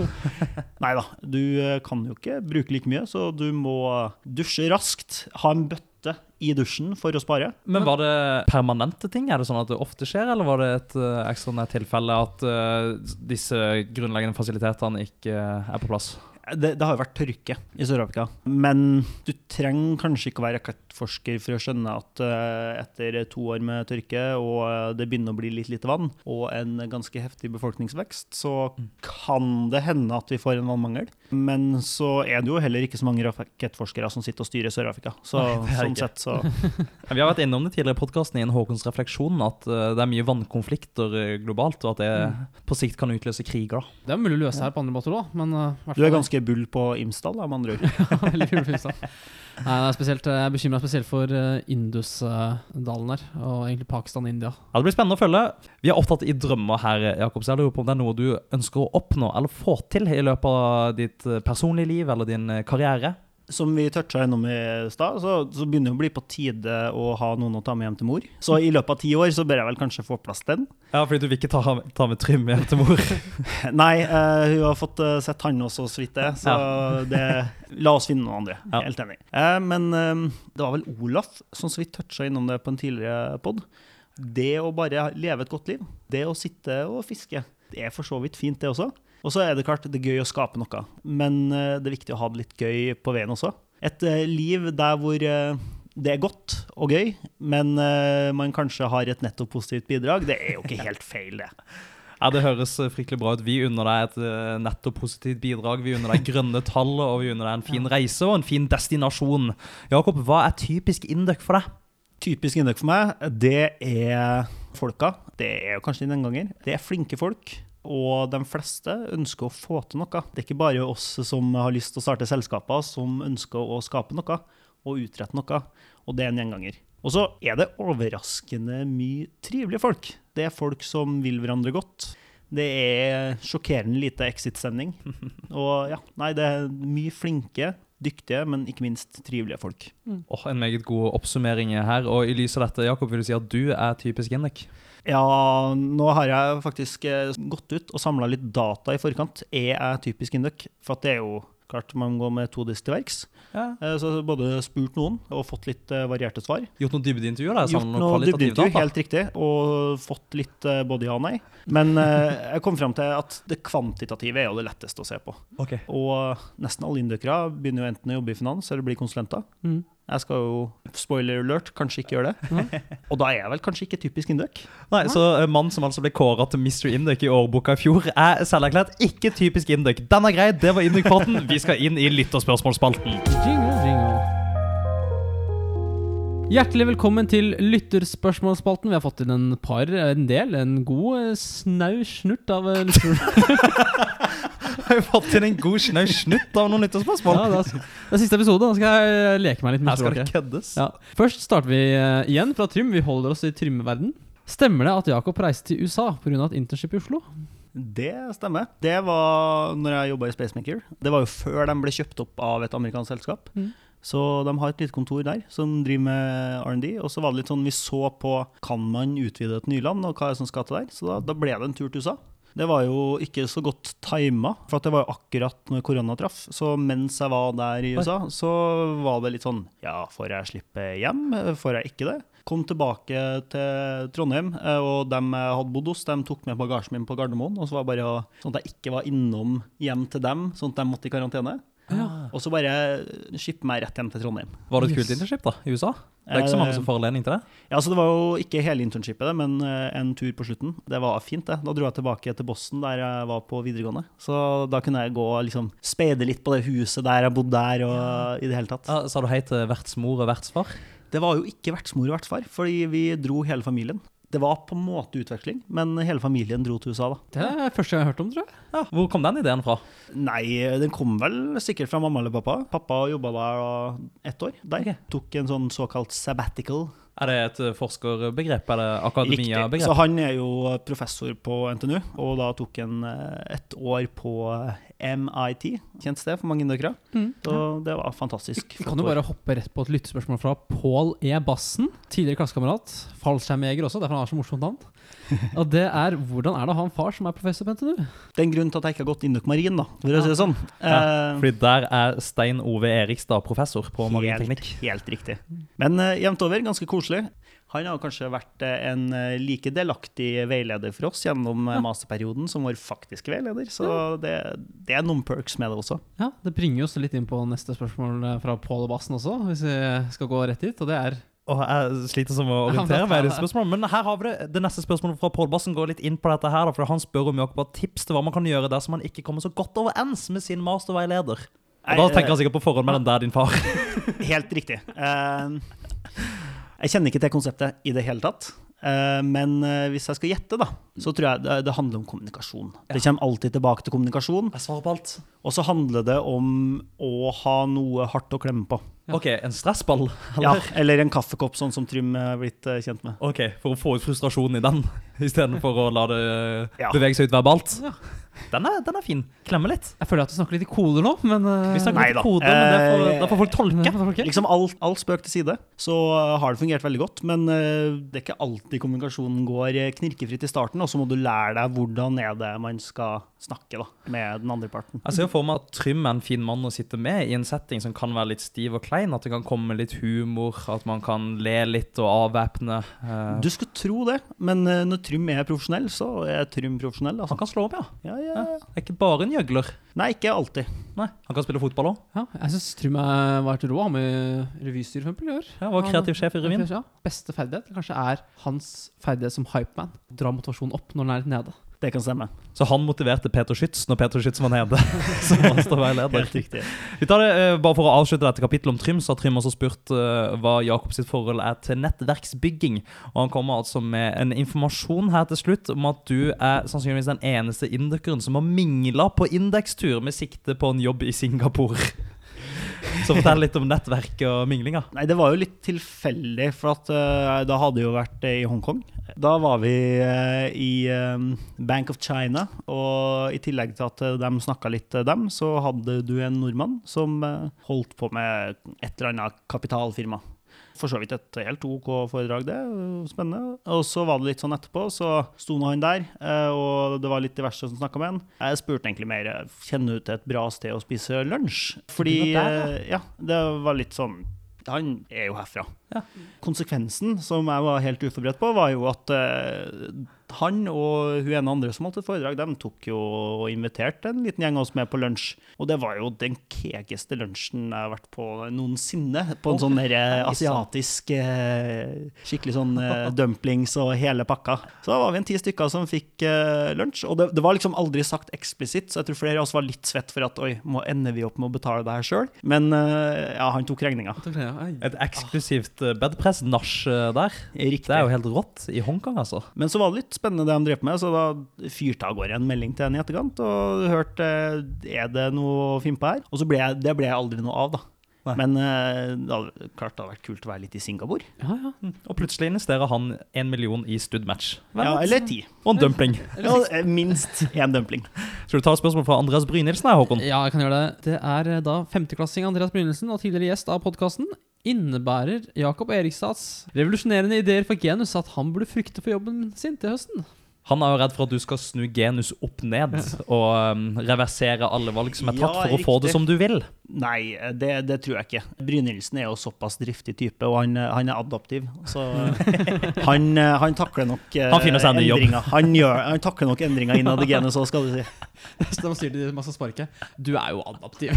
C: Nei da, du eh, kan jo ikke bruke like mye, så du må dusje raskt. Ha en bøtte i dusjen for å spare.
A: Men var det permanente ting? Er det sånn at det ofte skjer, eller var det et eh, ekstraordinært tilfelle at eh, disse grunnleggende fasilitetene ikke eh, er på plass?
C: Det, det har jo vært tørke i Sør-Afrika. Men du trenger kanskje ikke å være rakettforsker for å skjønne at eh, etter to år med tørke, og eh, det begynner å bli litt lite vann, og en ganske heftig befolkningsvekst, så
A: Mm.
C: kan det hende at vi får en vannmangel. Men så er det jo heller ikke så mange rakettforskere som sitter og styrer Sør-Afrika. Så
A: Nei, det er
C: sånn
A: det
C: sett så
A: Vi har vært innom det tidligere i podkasten i en Håkons refleksjon at eh, det er mye vannkonflikter eh, globalt, og at det på sikt kan utløse kriger. da.
D: Det er mulig å løse her på andre måter òg, men eh, i hvert
C: Du er
D: fall-
C: ganske bull på Imsdal, da, med andre ord.
D: Veldig kul film, da. liksom. Nei, det er spesielt, jeg er bekymra spesielt for eh, Indus-dalen her, og egentlig Pakistan og India.
A: Ja, Det blir spennende å følge. Vi er opptatt i drømmer her, Jakob. Så jeg lurer på om det er noe du ønsker å oppnå eller få til i løpet av ditt eh, personlige liv eller din eh, karriere.
C: Som vi toucha innom i stad, så, så begynner det å bli på tide å ha noen å ta med hjem til mor. Så i løpet av ti år så bør jeg vel kanskje få plass til den.
A: Ja, fordi du vil ikke ta, ta med Trym hjem til mor.
C: Nei, eh, hun har fått eh, sett han også, så vidt det. Så det, la oss finne noen andre.
A: Ja.
C: Helt enig. Eh, men eh, det var vel Olaf som så vidt toucha innom det på en tidligere pod. Det å bare leve et godt liv, det å sitte og fiske, det er for så vidt fint, det også. Og så er det klart, det er gøy å skape noe, men eh, det er viktig å ha det litt gøy på veien også. Et eh, liv der hvor eh, det er godt og gøy, men eh, man kanskje har et netto positivt bidrag, det er jo ikke helt feil, det.
A: Ja, Det høres eh, fryktelig bra ut. Vi unner deg et eh, netto positivt bidrag. Vi unner deg grønne tall, og vi unner deg en fin reise og en fin destinasjon. Jakob, hva er typisk Induc for deg?
C: Typisk Indøk for meg, det er folka. Det er jo kanskje din enganger. Det er flinke folk, og de fleste ønsker å få til noe. Det er ikke bare oss som har lyst til å starte selskaper, som ønsker å skape noe og utrette noe, og det er en gjenganger. Og så er det overraskende mye trivelige folk. Det er folk som vil hverandre godt. Det er sjokkerende lite exit-stemning. Og ja, nei, det er mye flinke, dyktige, men ikke minst trivelige folk.
A: Åh, en meget god oppsummering her. Og i lys av dette, Jakob, vil du si at du er typisk Induc?
C: Ja, nå har jeg faktisk eh, gått ut og samla litt data i forkant. Er jeg typisk Induc? For at det er jo klart man går med to disk til verks.
A: Ja.
C: Eh, Så jeg har både spurt noen og fått litt eh, varierte svar.
A: Gjort noen dybdeintervjuer? der, sånn
C: Gjort
A: sammen med
C: noe
A: kvalitative
C: dybdeintervju,
A: data?
C: helt riktig, og fått litt eh, både ja og nei. Men eh, jeg kom fram til at det kvantitative er jo det letteste å se på.
A: Ok.
C: Og nesten alle indøkere begynner jo enten å jobbe i finans eller bli konsulenter.
D: Mm.
C: Jeg skal jo, spoiler alert, kanskje ikke gjøre det. og da er jeg vel kanskje ikke typisk Induc.
A: Nei, så eh, Mannen som altså ble kåra til Mr. Induc i årboka i fjor, er selverklært ikke typisk Induc. Den er grei, det var Induc-potten. Vi skal inn i lytterspørsmålsspalten.
D: Jingle, jingle. Hjertelig velkommen til lytterspørsmålsspalten. Vi har fått inn en par, en del, en god eh, snau snurt av eh, lytter-
A: Har jo fått inn en god snau snutt av noen
D: Ja,
A: nyttårsspørsmål.
D: det, er, det er siste episode, da skal jeg eh, leke meg litt med
A: Her skal det
D: språket.
A: køddes.
D: Ja. Først starter vi eh, igjen fra Trym. Vi holder oss i Trym-verden. Stemmer det at Jakob reiste til USA pga. et internship i Oslo?
C: Det stemmer. Det var når jeg jobba i Spacemaker. Det var jo før de ble kjøpt opp av et amerikansk selskap.
D: Mm.
C: Så de har et lite kontor der som driver med R&D. Og så var det litt sånn vi så på kan man utvide et nyland, og hva er det som skal til der. Så da, da ble det en tur til USA. Det var jo ikke så godt tima, for at det var jo akkurat når korona traff. Så mens jeg var der i USA, så var det litt sånn Ja, får jeg slippe hjem? Får jeg ikke det? Kom tilbake til Trondheim, eh, og dem jeg hadde bodd hos, de tok med bagasjen min på Gardermoen. Og så var det bare å- sånn at jeg ikke var innom hjem til dem, sånn at de måtte i karantene. Og så bare skippe meg rett hjem til Trondheim. Eh,
A: Var det et
D: Yes.
A: kult internship da, i USA? Det er ikke så mange som får anledning til det.
C: Ja, så Det var jo ikke hele internshipet, det, men eh, en tur på slutten. Det var fint, det. Da dro jeg tilbake til Boston, der jeg var på videregående. Så da kunne jeg gå og liksom speide litt på det huset der jeg bodde der, og i det hele tatt.
A: Ja, sa du hei til vertsmor og vertsfar?
C: Det var jo ikke vertsmor og vertsfar, fordi vi dro hele familien. Det var på en måte utveksling, men hele familien dro til USA, da.
D: Det er første gang jeg har hørt om, tror jeg.
A: Ja, Hvor kom den ideen fra?
C: Nei, den kom vel sikkert fra mamma eller pappa. Pappa jobba der da ett år. Der. Tok en sånn såkalt sabbatical.
A: Er det et eh, forskerbegrep, eller
C: Riktig.
A: akademia-begrep?
C: Så han er jo professor på NTNU, og da tok han eh, ett år på eh, MIT. Kjent sted for mange indokere. Så det var fantastisk.
D: Vi kan jo bare hoppe rett på et lyttespørsmål fra Pål E. Bassen. Tidligere klassekamerat. Fallskjermjeger også, derfor han har så morsomt navn. Og det er hvordan er det å ha en far som er professor på NTNU?
C: Det er en grunn til at jeg ikke har gått Induk Marin, da, for å si det sånn. Eh,
A: Fordi der er Stein Ove Erikstad professor på marinteknikk.
C: Helt, helt riktig. Men eh, jevnt over ganske koselig. Han har kanskje vært eh, en eh, like delaktig veileder for oss gjennom eh, masterperioden som vår faktiske veileder, så det, det er noen perks med det også.
D: Ja, Det bringer oss litt inn på neste spørsmål eh, fra Pål og Bassen også, hvis vi skal gå rett dit. Og det er
A: Og jeg sliter som å orientere meg i disse spørsmålene. Men her har vi det. Det neste spørsmålet fra Pål Bassen går litt inn på dette her. da, For han spør om Jakob har tips til hva man kan gjøre dersom man ikke kommer så godt overens med sin masterveileder. Og da
C: Nei,
A: tenker han sikkert på forhånd mellom deg og din far.
C: Helt riktig. Eh, Jeg kjenner ikke til konseptet i det hele tatt. Eh, Men eh, hvis jeg skal gjette, da, så tror jeg det- det handler om kommunikasjon. Det kommer alltid tilbake til kommunikasjon.
A: Jeg svarer på alt.
C: Og så handler det om å ha noe hardt å klemme på.
A: OK, en stressball?
C: Ja,
A: Eller?
C: eller en kaffekopp, sånn som Trym er blitt eh, kjent med.
A: OK, for å få ut frustrasjonen i den, istedenfor å la det eh,
C: Ja.
A: bevege seg ut verbalt.
D: Ja.
A: Den er, den er fin. Klemme litt.
D: Jeg føler at vi snakker litt i koder nå, men eh,
A: Vi snakker litt
C: Neida.
A: kode, men det får,
C: Eh,
A: da får folk tolke.
D: Tolke?
C: Liksom all, all spøk til side, så eh, har det fungert veldig godt. Men eh, det er ikke alltid kommunikasjonen går eh, knirkefritt i starten, og så må du lære deg hvordan er det man skal snakke da, med den andre parten.
A: Jeg ser jo for meg at Trym er en fin mann å sitte med i en setting som kan være litt stiv og klein. At det kan komme litt humor, at man kan le litt og avvæpne. eh,
C: Du skulle tro det, men eh, når Trym er profesjonell, så er Trym profesjonell. Altså.
A: han kan slå opp, ja.
C: Ja, ja. ja.
A: Er ikke bare en gjøgler.
C: Nei, ikke alltid.
A: Nei, Han kan spille fotball òg.
D: Ja, jeg syns Trym har vært rå. Han med revystyr, for eksempel, i år.
A: Ja, var
D: Han-
A: kreativ sjef i revyen.
D: Ja, beste ferdighet kanskje er hans ferdighet som hypeman. Dra motivasjonen opp når den er litt nede.
C: Det kan stemme.
A: Så han motiverte Peter Schütz når Peter Schütz var nede. som masterveileder.
C: Helt riktig.
A: Vi tar det eh, bare for å avslutte dette kapittelet om Trym, så har Trym også spurt eh, hva Jakob sitt forhold er til nettverksbygging. Og han kommer altså med en informasjon her til slutt om at du er sannsynligvis den eneste indokeren som har mingla på indekstur med sikte på en jobb i Singapore. Så fortell litt om nettverket og minglinga.
C: Nei, det var jo litt tilfeldig, for at, eh, da hadde jeg jo vært eh, i Hongkong. Da var vi eh, i eh, Bank of China, og i tillegg til at eh, de snakka litt eh, dem, så hadde du en nordmann som eh, holdt på med et eller annet kapitalfirma. For så vidt et helt OK foredrag, det. eh, Spennende. Og så var det litt sånn etterpå, så sto nå han der, eh, og det var litt diverse som snakka med han. Jeg spurte egentlig mer eh, kjenner du til et bra sted å spise lunsj. Fordi
A: Du var der,
C: eh, ja, det var litt sånn han er jo herfra.
A: Ja.
C: Konsekvensen, som jeg var helt uforberedt på, var jo at eh, han og hun ene andre som holdt et foredrag, de tok jo og inviterte en liten gjeng av oss med på lunsj. Og det var jo den kekeste lunsjen jeg har vært på noensinne. På en
A: Å,
C: sånn derre
A: nei, sant.
C: asiatisk eh, Skikkelig sånn eh, dumplings og hele pakka. Så da var vi en ti stykker som fikk eh, lunsj. Og det, det var liksom aldri sagt eksplisitt, så jeg tror flere av oss var litt svett for at oi, må ender vi opp med å betale det her sjøl? Men eh, ja, han tok regninga.
D: Jeg tok det, ja.
A: Et eksklusivt eh, bedpress-nach eh, der.
C: Riktig.
A: Det er jo helt rått i Hongkong, altså.
C: Men så var det litt spennende det han drev på med, så da fyrte jeg av gårde en melding til henne i etterkant og hørte eh, er det noe å finne på her. Og så ble jeg, det ble jeg aldri noe av, da.
A: Nei.
C: Men eh, det hadde, klart det hadde vært kult å være litt i Singapore.
D: Ja, ja.
A: Og plutselig investerer han én million i studmatch. Hvem
C: Ja,
A: vet?
C: eller ti.
A: Og en dumpling.
C: Ja, eh, minst én dumpling.
A: Skal du ta et spørsmål fra Andreas Brynildsen her, Håkon?
D: Ja, jeg kan gjøre det. Det er eh, da femteklassing Andreas Brynildsen og tidligere gjest av podkasten. Innebærer Jakob Erikstads revolusjonerende ideer for genus at han burde frykte for jobben sin til høsten?
A: Han er jo redd for at du skal snu genus opp ned og um, reversere alle valg som er tatt,
C: Ja,
A: for å få
C: riktig.
A: det som du vil.
C: Nei, det, det tror jeg ikke. Brynildsen er jo såpass driftig type, og han, han er adaptiv. Så han, han takler nok eh,
A: Han finner seg en ny jobb.
C: endringer. Han, gjør, han takler nok endringer innad i genet, så skal du si.
D: Så da sier de man skal sparke. Du er jo adaptiv.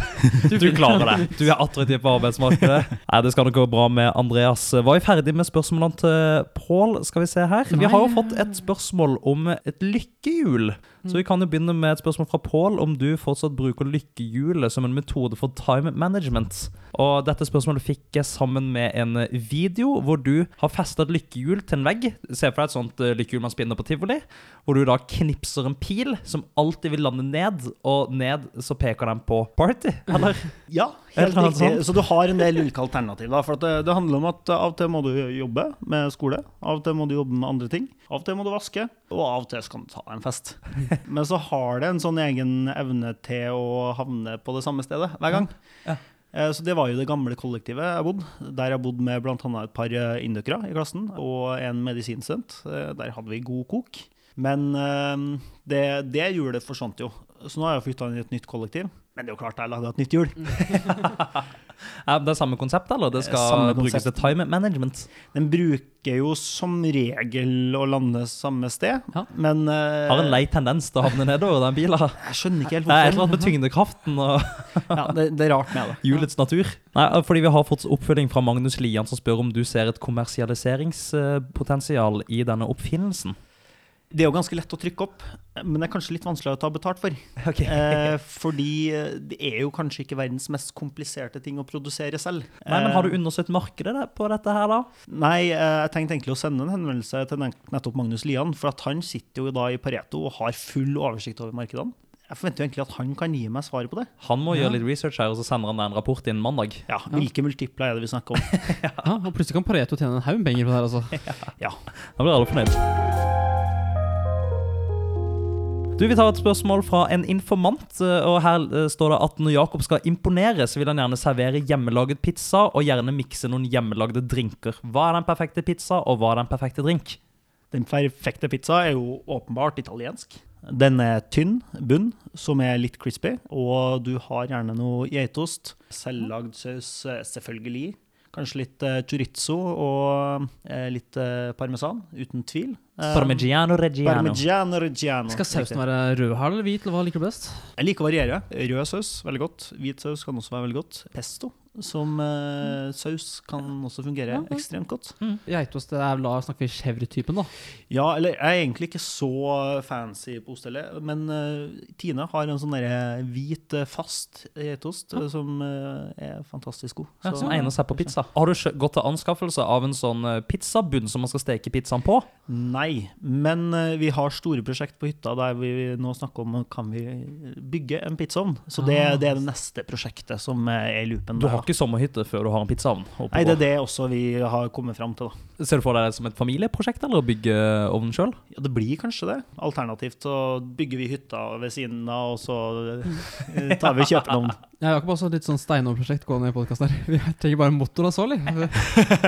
A: Du klarer det. Du er attraktiv på arbeidsmarkedet. Nei, Det skal nok gå bra med Andreas. Var vi ferdig med spørsmålene til Pål? Skal vi se her. Vi har jo fått et spørsmål om et lykkehjul. Så vi kan jo begynne med et spørsmål fra Pål om du fortsatt bruker lykkehjulet som en metode for time management. Og dette spørsmålet fikk jeg sammen med en video hvor du har festa et lykkehjul til en vegg. Se for deg et sånt eh, lykkehjul man spinner på tivoli. Hvor du da knipser en pil som alltid vil lande ned, og ned så peker den på party. Eller?
C: Ja,
A: Eller
C: helt
A: noe
C: riktig.
A: sånt.
C: Så du har en del ulike alternativ. Da, for at det, det handler om at eh, av og til må du jobbe med skole, av og til må du jobbe med andre ting, av og til må du vaske, og av og til skal du ta en fest. Men så har det en sånn egen evne til å havne på det samme stedet hver gang.
A: Ja.
C: Eh, Så det var jo det gamle kollektivet jeg bodde. Der jeg bodde med bl.a. et par eh, indokere i klassen og en medisinstudent. Eh, Der hadde vi god kok. Men eh, det, det hjulet forsvant jo. Så nå har jeg flytta inn i et nytt kollektiv. Men det er jo klart jeg laga et nytt hjul.
A: Mm. Ja, det er samme konsept, eller? Det skal
C: Eh, Samme
A: brukes til
C: konsept.
A: time management.
C: Den bruker jo som regel å lande samme sted,
D: Ja.
C: men eh,
A: Har en lei tendens til å havne nedover den bilen. Det
C: Jeg skjønner ikke helt
A: er et eller
C: hvorfor.
A: annet med tyngdekraften og
C: Ja, det, det er rart med det.
A: hjulets natur. Nei, eh, fordi vi har fått oppfølging fra Magnus Lian, som spør om du ser et kommersialiseringspotensial i denne oppfinnelsen.
C: Det er jo ganske lett å trykke opp, men det er kanskje litt vanskeligere å ta betalt for.
A: Ok.
C: Eh, fordi eh, det er jo kanskje ikke verdens mest kompliserte ting å produsere selv.
A: Nei, men Har
C: Eh.
A: du undersøkt markedet der- på dette her, da?
C: Nei, eh, jeg tenkte egentlig å sende en henvendelse til nett- nettopp Magnus Lian, for at han sitter jo da i Pareto og har full oversikt over markedene. Jeg forventer jo egentlig at han kan gi meg svaret på det.
A: Han må
D: Ja.
A: gjøre litt research her, og så sender han deg en rapport innen mandag.
C: Ja, Hvilke multipler er det vi snakker om?
D: Ja, og plutselig kan Pareto tjene en haug med penger på det her, altså.
A: Da blir alle fornøyd. Du, Vi tar et spørsmål fra en informant. eh, og Her eh, står det at når Jakob skal imponere, så vil han gjerne servere hjemmelaget pizza og gjerne mikse noen hjemmelagde drinker. Hva er den perfekte pizza, og hva er den perfekte drink?
C: Den perfekte pizza er jo åpenbart italiensk. Den er tynn bunn, som er litt crispy, og du har gjerne noe geitost. Selvlagd saus, eh, selvfølgelig. Kanskje litt eh, chorizo og eh, litt eh, parmesan, uten tvil. Eh,
A: Parmigiano reggiano.
C: Parmigiano reggiano.
D: Skal
C: Riktig.
D: sausen være rød her eller hvit, eller hva liker du best?
C: Jeg liker å variere. Rød saus, veldig godt. Hvit saus kan også være veldig godt. Pesto som eh, saus kan også fungere ekstremt godt.
D: Geitost det er la snakker vi chèvre-typen, da.
C: Ja, eller jeg er egentlig ikke så fancy på ostehellet, men eh, Tine har en sånn derre hvit, eh, fast geitost eh, som eh, er fantastisk god.
A: Ja,
C: Så-
A: som egner seg på pizza. Har du skjø- gått til anskaffelse av en sånn eh, pizzabunn som man skal steke pizzaen på?
C: Nei, men eh, vi har store prosjekt på hytta der vi nå snakker om kan vi bygge en pizzaovn. Så det,
D: Ah.
C: det er det neste prosjektet som eh, er i loopen.
A: Du
C: der,
A: har
C: da.
A: ikke sommerhytte før du har en pizzaovn. oppe
C: Nei, det
A: og
C: er det også vi har kommet fram til, da.
A: går. Ser du for deg det som et familieprosjekt, eller å bygge eh, ovnen sjøl?
C: Ja, det blir kanskje det. Alternativt så bygger vi hytta ved siden av, og så eh, tar vi kjøpenavn.
D: Ja, Jakob har også et litt sånn Steinov-prosjekt gående i podkasten her. Vi trenger bare en motor, altså, eller?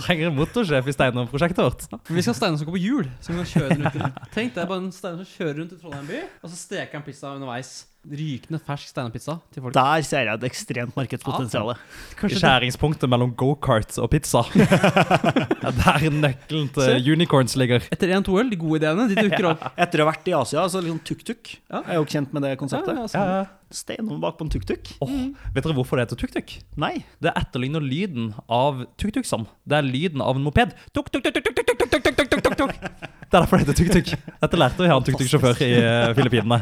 A: Trenger en motorsjef i Steinar-prosjektet vårt.
D: For vi skal ha steiner som går på hjul, som vi kan kjøre rundt i. Tenk deg bare en steiner som kjører rundt i Trondheim by, og så steker han pizza underveis. Rykende fersk steinerpizza til folk.
C: Der ser jeg et ekstremt markedspotensial.
A: Skjæringspunktet mellom gokart og pizza. Ja, Der nøkkelen til unicorns ligger.
D: Etter én to øl, de gode ideene, de dukker opp.
C: Etter å ha vært i Asia, så liksom tuk-tuk.
D: Ja.
C: Jeg er jo kjent med det konseptet.
D: Ja, ja, sånn.
C: Steinov bak på en tuk-tuk?
A: Åh, vet dere hvorfor det heter tuk-tuk?
C: Nei.
A: Det etterligner lyden av tuk-tuk-sam. Det er lyden av en moped. Tuk-tuk-tuk-tuk-tuk-tuk-tuk-tuk-tuk-tuk-tuk. Det er derfor det heter tuk-tuk. Dette lærte vi av en tuk-tuk-sjåfør i eh, Filippinene.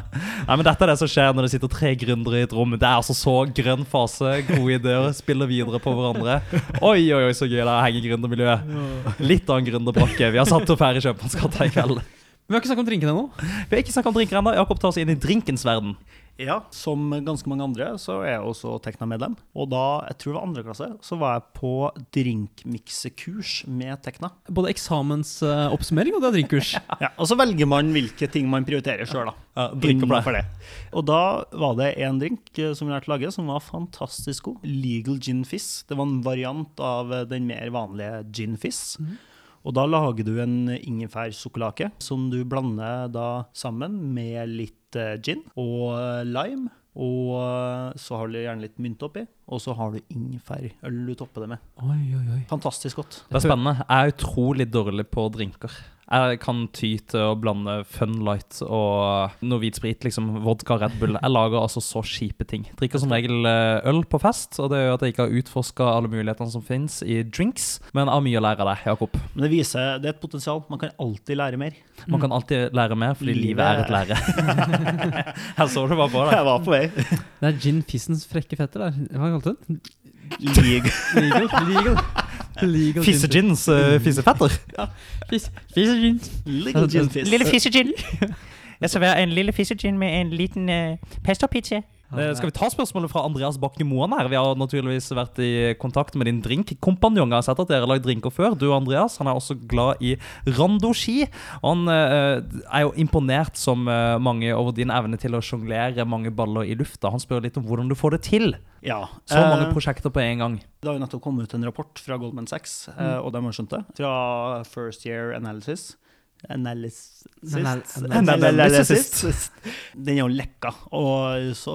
A: Nei, men Dette er det som skjer når det sitter tre gründere i et rom. Det er altså så grønn fase, gode ideer, spiller videre på hverandre. Oi, oi, oi, så gøy det er å henge i gründermiljøet. Litt av en gründerbrakke. Vi har satt opp her i Kjøpmannsgata i kveld.
D: Vi har ikke snakket om drinkene ennå.
A: Vi har ikke snakket om drinker ennå. Jakob tar oss inn i drinkens verden.
C: Ja, som ganske mange andre, så er jeg også Tekna-medlem. Og da, jeg tror det var andre klasse, så var jeg på drinkmiksekurs med Tekna.
D: Både eksamensoppsummering og det er drinkkurs.
C: Ja, og så velger man hvilke ting man prioriterer sjøl, da.
A: Ja, drink og
C: Innenfor det. Og da var det en drink eh, som vi lærte å lage, som var fantastisk god. Legal gin fizz. Det var en variant av eh, den mer vanlige gin fizz. Og da lager du en ingefærsukkerlake som du blander da sammen med litt eh, gin og eh, lime. Og eh, så har du gjerne litt mynt oppi, og så har du ingefærøl du topper det med.
D: Oi, oi, oi.
C: Fantastisk godt.
A: Det er spennende. Jeg er utrolig dårlig på drinker. Jeg kan ty til å blande Funlight og noe hvit sprit, liksom vodka, Red Bull. Jeg lager altså så kjipe ting. Drikker som regel eh, øl på fest, og det gjør at jeg ikke har utforska alle mulighetene som fins i drinks. Men jeg har mye å lære av deg, Jakob.
C: Men det viser, det er et potensial. Man kan alltid lære mer.
A: Man kan alltid lære mer, fordi livet er et lære. Jeg så du bare på det.
C: Jeg var på vei.
D: Det er gin fissens frekke fetter der. Hva kalte du den?
C: Legal.
D: Legal. legal. legal gin fizz.
A: Fissegins uh, fissefetter.
D: Fizz- Fissegin.
C: Legal gin fizz.
A: fissegin. Øh, Jeg serverer en lille fissegin med en liten øh, pesto-pizza. Eh, Skal vi ta spørsmålet fra Andreas Bakke Moen her? Vi har naturligvis vært i kontakt med din drinkkompanjong. Jeg har sett at dere har lagd drinker før. Du og Andreas han er også glad i randoski. Og han eh, er jo imponert som eh, mange over din evne til å sjonglere mange baller i lufta. Han spør litt om hvordan du får det til.
C: Ja.
A: Så mange
C: eh,
A: prosjekter på en gang.
C: Det har jo nettopp kommet ut en rapport fra Goldman Sachs, eh,
A: Mm.
C: og de har skjønt det, fra First Year Analysis. Analysis.
D: Anal-
C: Analysis. Den er jo lekka, og så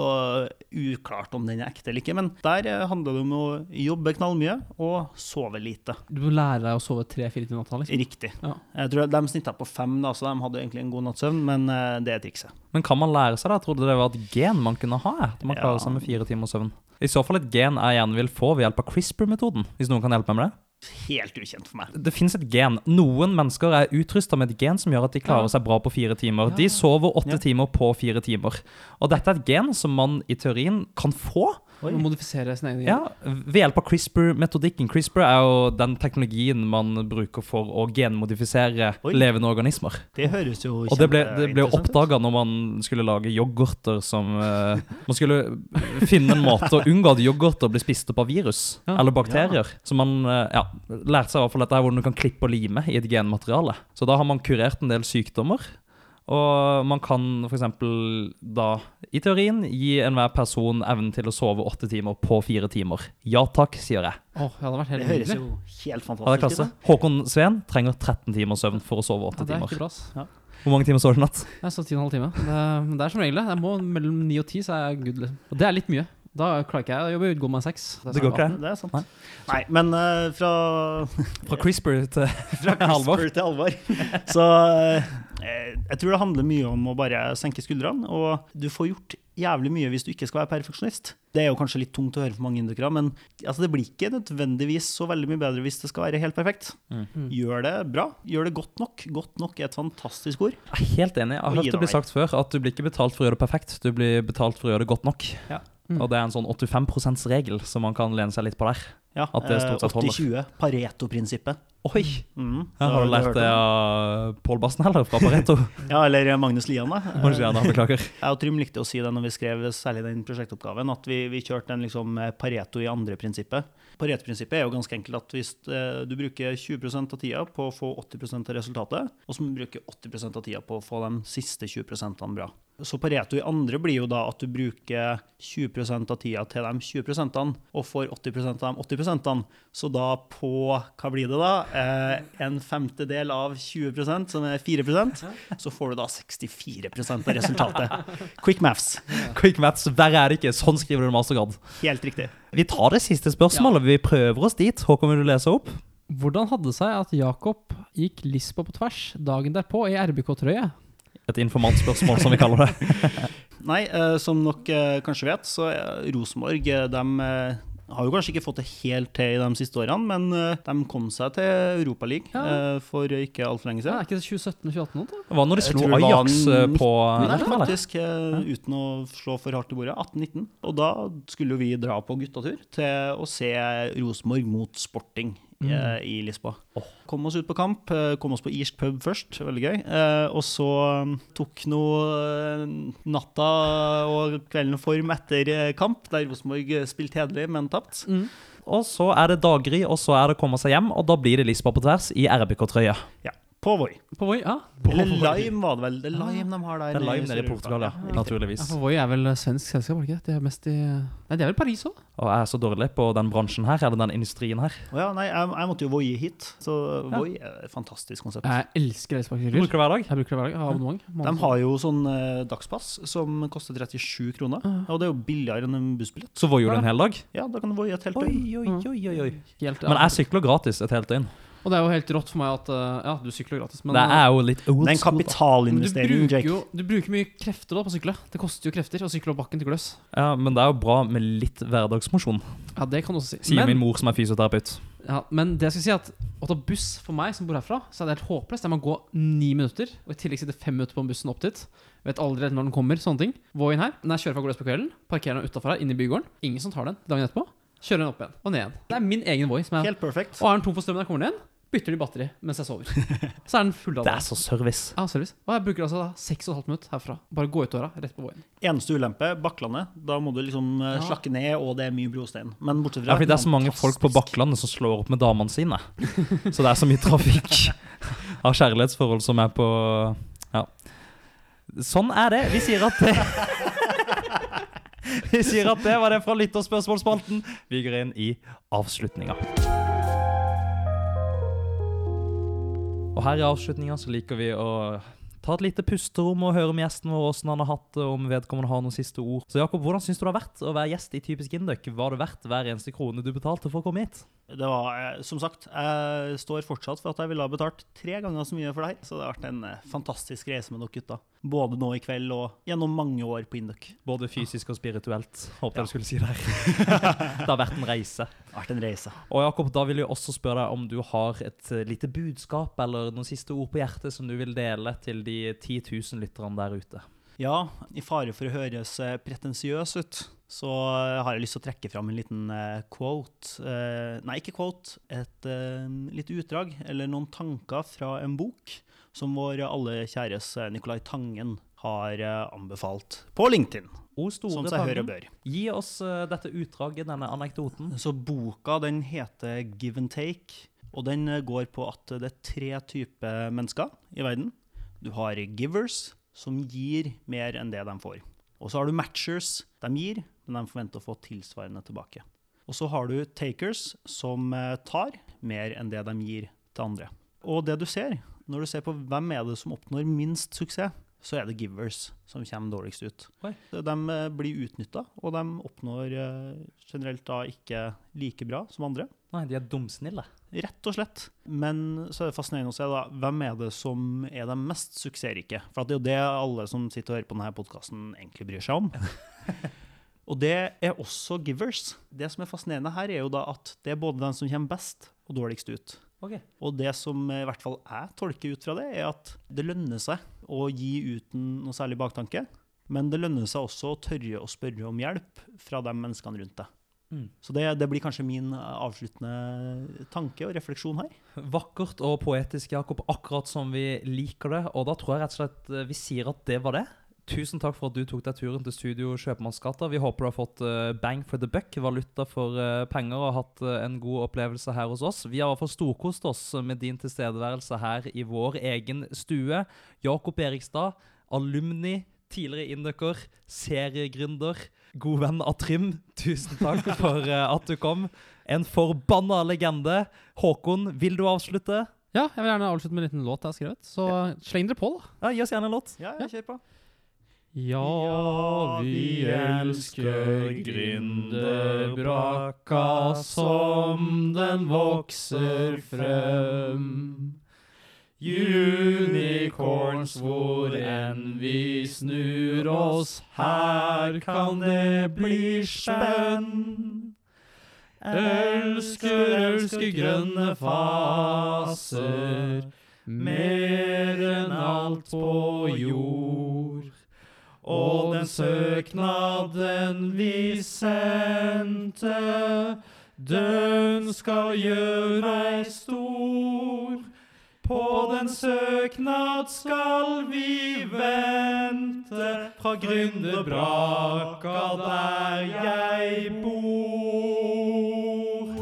C: uklart om den er ekte eller ikke. Men der eh, handler det om å jobbe knallmye og sove lite.
D: Du må lære deg å sove tre-fire timer om natta. Liksom.
C: Riktig.
D: Ja.
C: Jeg tror De snitta på fem, da, så de hadde jo egentlig en god natts søvn, men eh, det er trikset.
A: Men kan man lære seg det? Jeg trodde det var et gen man kunne ha. jeg, At man
C: Ja.
A: klarer seg med fire timer søvn. I så fall et gen jeg gjerne vil få ved hjelp av CRISPR-metoden. Hvis noen kan hjelpe meg med det.
C: Helt ukjent for meg.
A: Det fins et gen. Noen mennesker er utrusta med et gen som gjør at de klarer seg bra på fire timer. De sover åtte
C: Ja.
A: timer på fire timer. Og dette er et gen som man i teorien kan få
D: liksom. Du må modifisere sin egen
A: ja, ved hjelp av CRISPR-metodikken. CRISPR er jo den teknologien man bruker for å genmodifisere
C: Oi.
A: levende organismer.
C: Det høres jo
A: Og det ble, det ble
C: kjempeinteressant ut.
A: oppdaga når man skulle lage yoghurter som eh, Man skulle finne en måte å unngå at yoghurter ble spist opp av virus
D: Ja.
A: eller bakterier. Så man eh, ja, lærte seg i hvert fall dette her hvordan du kan klippe og lime i et genmateriale. Så da har man kurert en del sykdommer. Og man kan f.eks. da, i teorien, gi enhver person evnen til å sove åtte timer på fire timer. Ja takk, sier jeg.
D: Åh, det hadde vært helt
C: Det høres
D: nydelig.
C: jo helt
A: Ja, det er
C: fantastisk ut.
A: klasse.
C: da.
A: Håkon Sveen trenger 13 timers søvn for å sove
D: Ja,
A: åtte
D: det er
A: timer.
D: ikke bra. ass.
A: Hvor mange timer sover du i natt?
D: Jeg står 10,5 timer. Det, men det er som regel det. Jeg må mellom 9 og 10, så er jeg good. Liksom. Og det er litt mye. Da klarer ikke jeg å jobbe ut god med 6.
A: Det går ikke, det.
C: Det er sant.
A: Nei.
C: Nei, men eh, fra
A: Fra CRISPR til
C: fra
A: Alvor.
C: CRISPR til alvor. Så eh, jeg tror det handler mye om å bare senke skuldrene, og du får gjort jævlig mye hvis du ikke skal være perfeksjonist. Det er jo kanskje litt tungt å høre for mange indokere, men altså, det blir ikke nødvendigvis så veldig mye bedre hvis det skal være helt perfekt.
D: Mm.
C: Gjør det bra, gjør det godt nok. Godt nok er et fantastisk ord.
A: Jeg er helt enig. Jeg har
C: Og gi
A: hørt det bli
C: deg.
A: sagt før at du blir ikke betalt for å gjøre det perfekt, du blir betalt for å gjøre det godt nok.
C: Ja.
D: Mm.
A: Og det er en sånn 85 %-regel som man kan lene seg litt på der.
C: Ja,
A: At det stort sett holder.
C: 80-20, Pareto-prinsippet.
A: Oi!
C: Mm,
A: Jeg har
C: du
A: du lært
C: hørt
A: det
C: om?
A: av Pål Bastenheller fra Pareto.
C: Ja, eller Magnus Lian, da.
A: Må ikke gjerne, beklager.
C: Jeg og Trym likte å si det når vi skrev særlig den prosjektoppgaven, at vi, vi kjørte en liksom Pareto i andre-prinsippet. Pareto-prinsippet er jo ganske enkelt at hvis eh, du bruker 20 av tida på å få 80 av resultatet, og så må du bruke 80 av tida på å få de siste 20 bra. Så Pareto i andre blir jo da at du bruker 20 av tida til de 20 og får 80 av de 80 Så da på hva blir det da? Eh, en femtedel av 20 som er 4 så får du da 64 av resultatet. Quick maths.
A: Quick maths, verre er det ikke. Sånn skriver du en mastergrad.
C: Helt riktig.
A: Vi tar det siste spørsmålet. Vi prøver oss dit. Håkon, vil du lese opp?
D: Hvordan hadde det seg at Jakob gikk Lisboa på tvers dagen derpå i RBK-trøye?
A: Et informantspørsmål, som vi kaller det.
C: Nei, eh, som dere eh, kanskje vet, så er Rosenborg eh, de eh, Har jo kanskje ikke fått det helt til i de siste årene, men eh, de kom seg til Europaligaen
D: Ja.
C: eh, for ikke altfor lenge
D: Ja,
C: siden.
D: er ikke det 2017-2018 nå, da?
A: Hva når de
C: Jeg
A: slo
C: tror det var
A: Ajax eh, på
C: Nei,
A: Lerkendal, eller?
C: faktisk, eh, uten å slå for hardt i bordet. 18-19. Og da skulle jo vi dra på guttatur til å se Rosenborg mot Sporting eh, i Lisboa.
A: Mm. Åh.
C: Kom oss ut på kamp, eh, kom oss på irsk pub først, veldig gøy. Eh, Og så eh, tok nå eh, natta og kvelden form etter eh, kamp, der Rosenborg eh, spilte hederlig, men tapt.
A: Og så er det daggry, og så er det å komme seg hjem, og da blir det Lisboa på tvers i RBK-trøye.
C: Ja, på Voi.
D: På Voi, ja.
C: Eller Lime var det vel. Det er Lime de har der.
A: Ah. Det er live nede i
C: Sør-Europa.
A: Portugal, ja.
D: ja
A: Naturligvis.
D: for Voi er vel svensk selskap, var det ikke? det? De er mest i Nei, det er vel Paris òg?
A: Og jeg er så dårlig på den bransjen her, eller den industrien her.
C: Å ja, nei, jeg, jeg måtte jo Voi hit, så
D: Ja.
C: Voi er et fantastisk konsept.
A: Eh,
D: Jeg elsker elsparkesykler.
A: Bruker det hver dag.
D: Jeg bruker det hver dag. Jeg har abonnement.
C: De har jo sånn eh, dagspass som koster 37 kroner, og det er jo billigere enn en bussbillett.
A: Så var jo det en hel dag.
C: Ja, da kan du Voi et helt
A: Oi,
C: døgn.
A: oi, oi, oi, oi.
D: Helt,
A: Men jeg sykler gratis et helt døgn.
D: Og det er jo helt rått for meg at eh, Ja, du sykler gratis, men
A: Det er jo litt old
C: Det er en
A: school. da.
D: men du,
C: kapitalinvestering,
D: bruker jo,
C: Jake.
D: du bruker mye krefter da på å sykle. Det koster jo krefter å sykle opp bakken til gløss.
A: Ja, men det er jo bra med litt hverdagsmosjon,
D: Ja, det kan du også si.
A: sier min
D: Men,
A: mor som er fysioterapeut.
D: ja, men det jeg skal si er at å ta buss for meg som bor herfra, så er det helt håpløst. Jeg må gå ni minutter, og i tillegg sitte fem minutter på den bussen opp dit. Vet aldri helt når den kommer, sånne ting. Voi inn her. Når jeg kjører fra gløss på kvelden, parkerer den utafor her, inne i bygården. Ingen som tar den dagen etterpå. Kjører den opp igjen, og ned igjen. Det er min egen Voi. som er-
C: Helt perfekt.
D: Og er den tom for strøm når jeg kommer ned igjen, bytter den i batteri mens jeg sover. Så er den full av
A: Det er så service.
D: Ja, service. Og jeg bruker altså da 6,5 minutter herfra. Bare gå ut døra, rett på veien.
C: Eneste ulempe, Bakklandet. Da må du liksom eh,
D: Ja.
C: slakke ned, og det er mye brostein. Men bortsett
A: Ja,
C: fra
A: fordi det er så mange folk på
C: fantastisk.
A: Bakklandet som slår opp med damene sine. Så det er så mye trafikk av kjærlighetsforhold som er på Ja. Sånn er det. Vi sier at det Vi sier at det var det fra lytterspørsmålsspalten. Vi går inn i avslutninga. Og her i avslutninga så liker vi å ta et lite pusterom og høre om gjesten vår, hvordan han har hatt det, om vedkommende har noen siste ord. Så Jakob, hvordan syns du det har vært å være gjest i Typisk Induc? Var det verdt hver eneste krone du betalte for å komme hit?
C: Det var, eh, som sagt, jeg står fortsatt for at jeg ville ha betalt tre ganger så mye for deg. Så det har vært en eh, fantastisk reise med dere gutta. Både nå i kveld og gjennom mange år på Induc.
A: Både fysisk og spirituelt, håpet jeg du skulle si der. det har vært en reise.
C: Det har vært en reise.
A: Og Jakob, da vil jeg også spørre deg om du har et eh, lite budskap eller noen siste ord på hjertet som du vil dele til de 10 000 lytterne der ute.
C: Ja, i fare for å høres eh, pretensiøs ut, så eh, har jeg lyst til å trekke fram en liten eh, quote. Eh, Nei, ikke quote. Et eh, lite utdrag, eller noen tanker fra en bok som vår eh, alle kjæres eh, Nicolai Tangen har eh, anbefalt på LinkedIn,
A: O store
C: Sånn som seg hør og
A: Tangen,
C: bør.
A: Gi oss eh, dette utdraget, denne anekdoten.
C: Så boka den heter Give and Take, og den eh, går på at det er tre typer mennesker i verden. Du har givers, som gir mer enn det de får. Og så har du matchers. De gir, men de forventer å få tilsvarende tilbake. Og så har du takers, som eh, tar mer enn det de gir til andre. Og det du ser, når du ser på hvem er det som oppnår minst suksess, så er det givers som kommer dårligst ut.
A: Oi.
C: De eh, blir utnytta, og de oppnår eh, generelt da ikke like bra som andre.
A: Nei, de er dumsnille.
C: Rett og slett. Men så er det fascinerende å se da, hvem er det som er de mest suksessrike. For at det er jo det alle som sitter og hører på denne podkasten, egentlig bryr seg om. og det er også givers. Det som er fascinerende her, er jo da at det er både den som kommer best og dårligst ut.
A: Ok.
C: Og det som i hvert fall jeg tolker ut fra det, er at det lønner seg å gi uten noe særlig baktanke. Men det lønner seg også å tørre å spørre om hjelp fra de menneskene rundt deg.
A: Mm.
C: Så det, det blir kanskje min eh, avsluttende tanke og refleksjon her.
A: Vakkert og poetisk, Jakob, akkurat som vi liker det. Og da tror jeg rett og slett eh, vi sier at det var det. Tusen takk for at du tok deg turen til studio Kjøpmannsgata. Vi håper du har fått eh, bang for the buck, valuta for eh, penger, og hatt eh, en god opplevelse her hos oss. Vi har i hvert fall storkost oss med din tilstedeværelse her i vår egen stue. Jakob Erikstad, alumni, tidligere inndøkker, seriegründer, god venn av Trym. Tusen takk for eh, at du kom. En forbanna legende. Håkon, vil du avslutte?
D: Ja, jeg vil gjerne avslutte med en liten låt jeg har skrevet, så sleng dere på, da.
A: Ja, Gi oss gjerne en låt.
C: Ja,
D: ja,
C: kjør på.
D: Ja, vi elsker gründerbrakka som den vokser frem. Unicorns hvor enn vi snur oss, her kan det bli spenn.
C: Elsker, elsker grønne faser mer enn alt på jord. Og den søknaden vi sendte, den skal gjøre meg stor. På den søknad skal vi vente fra Gründerbraka der jeg bor.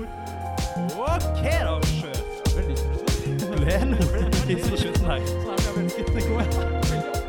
A: Ok, da, sjø. Veldig spesielt. Det ble en- det ble en tidsforskjøtten her.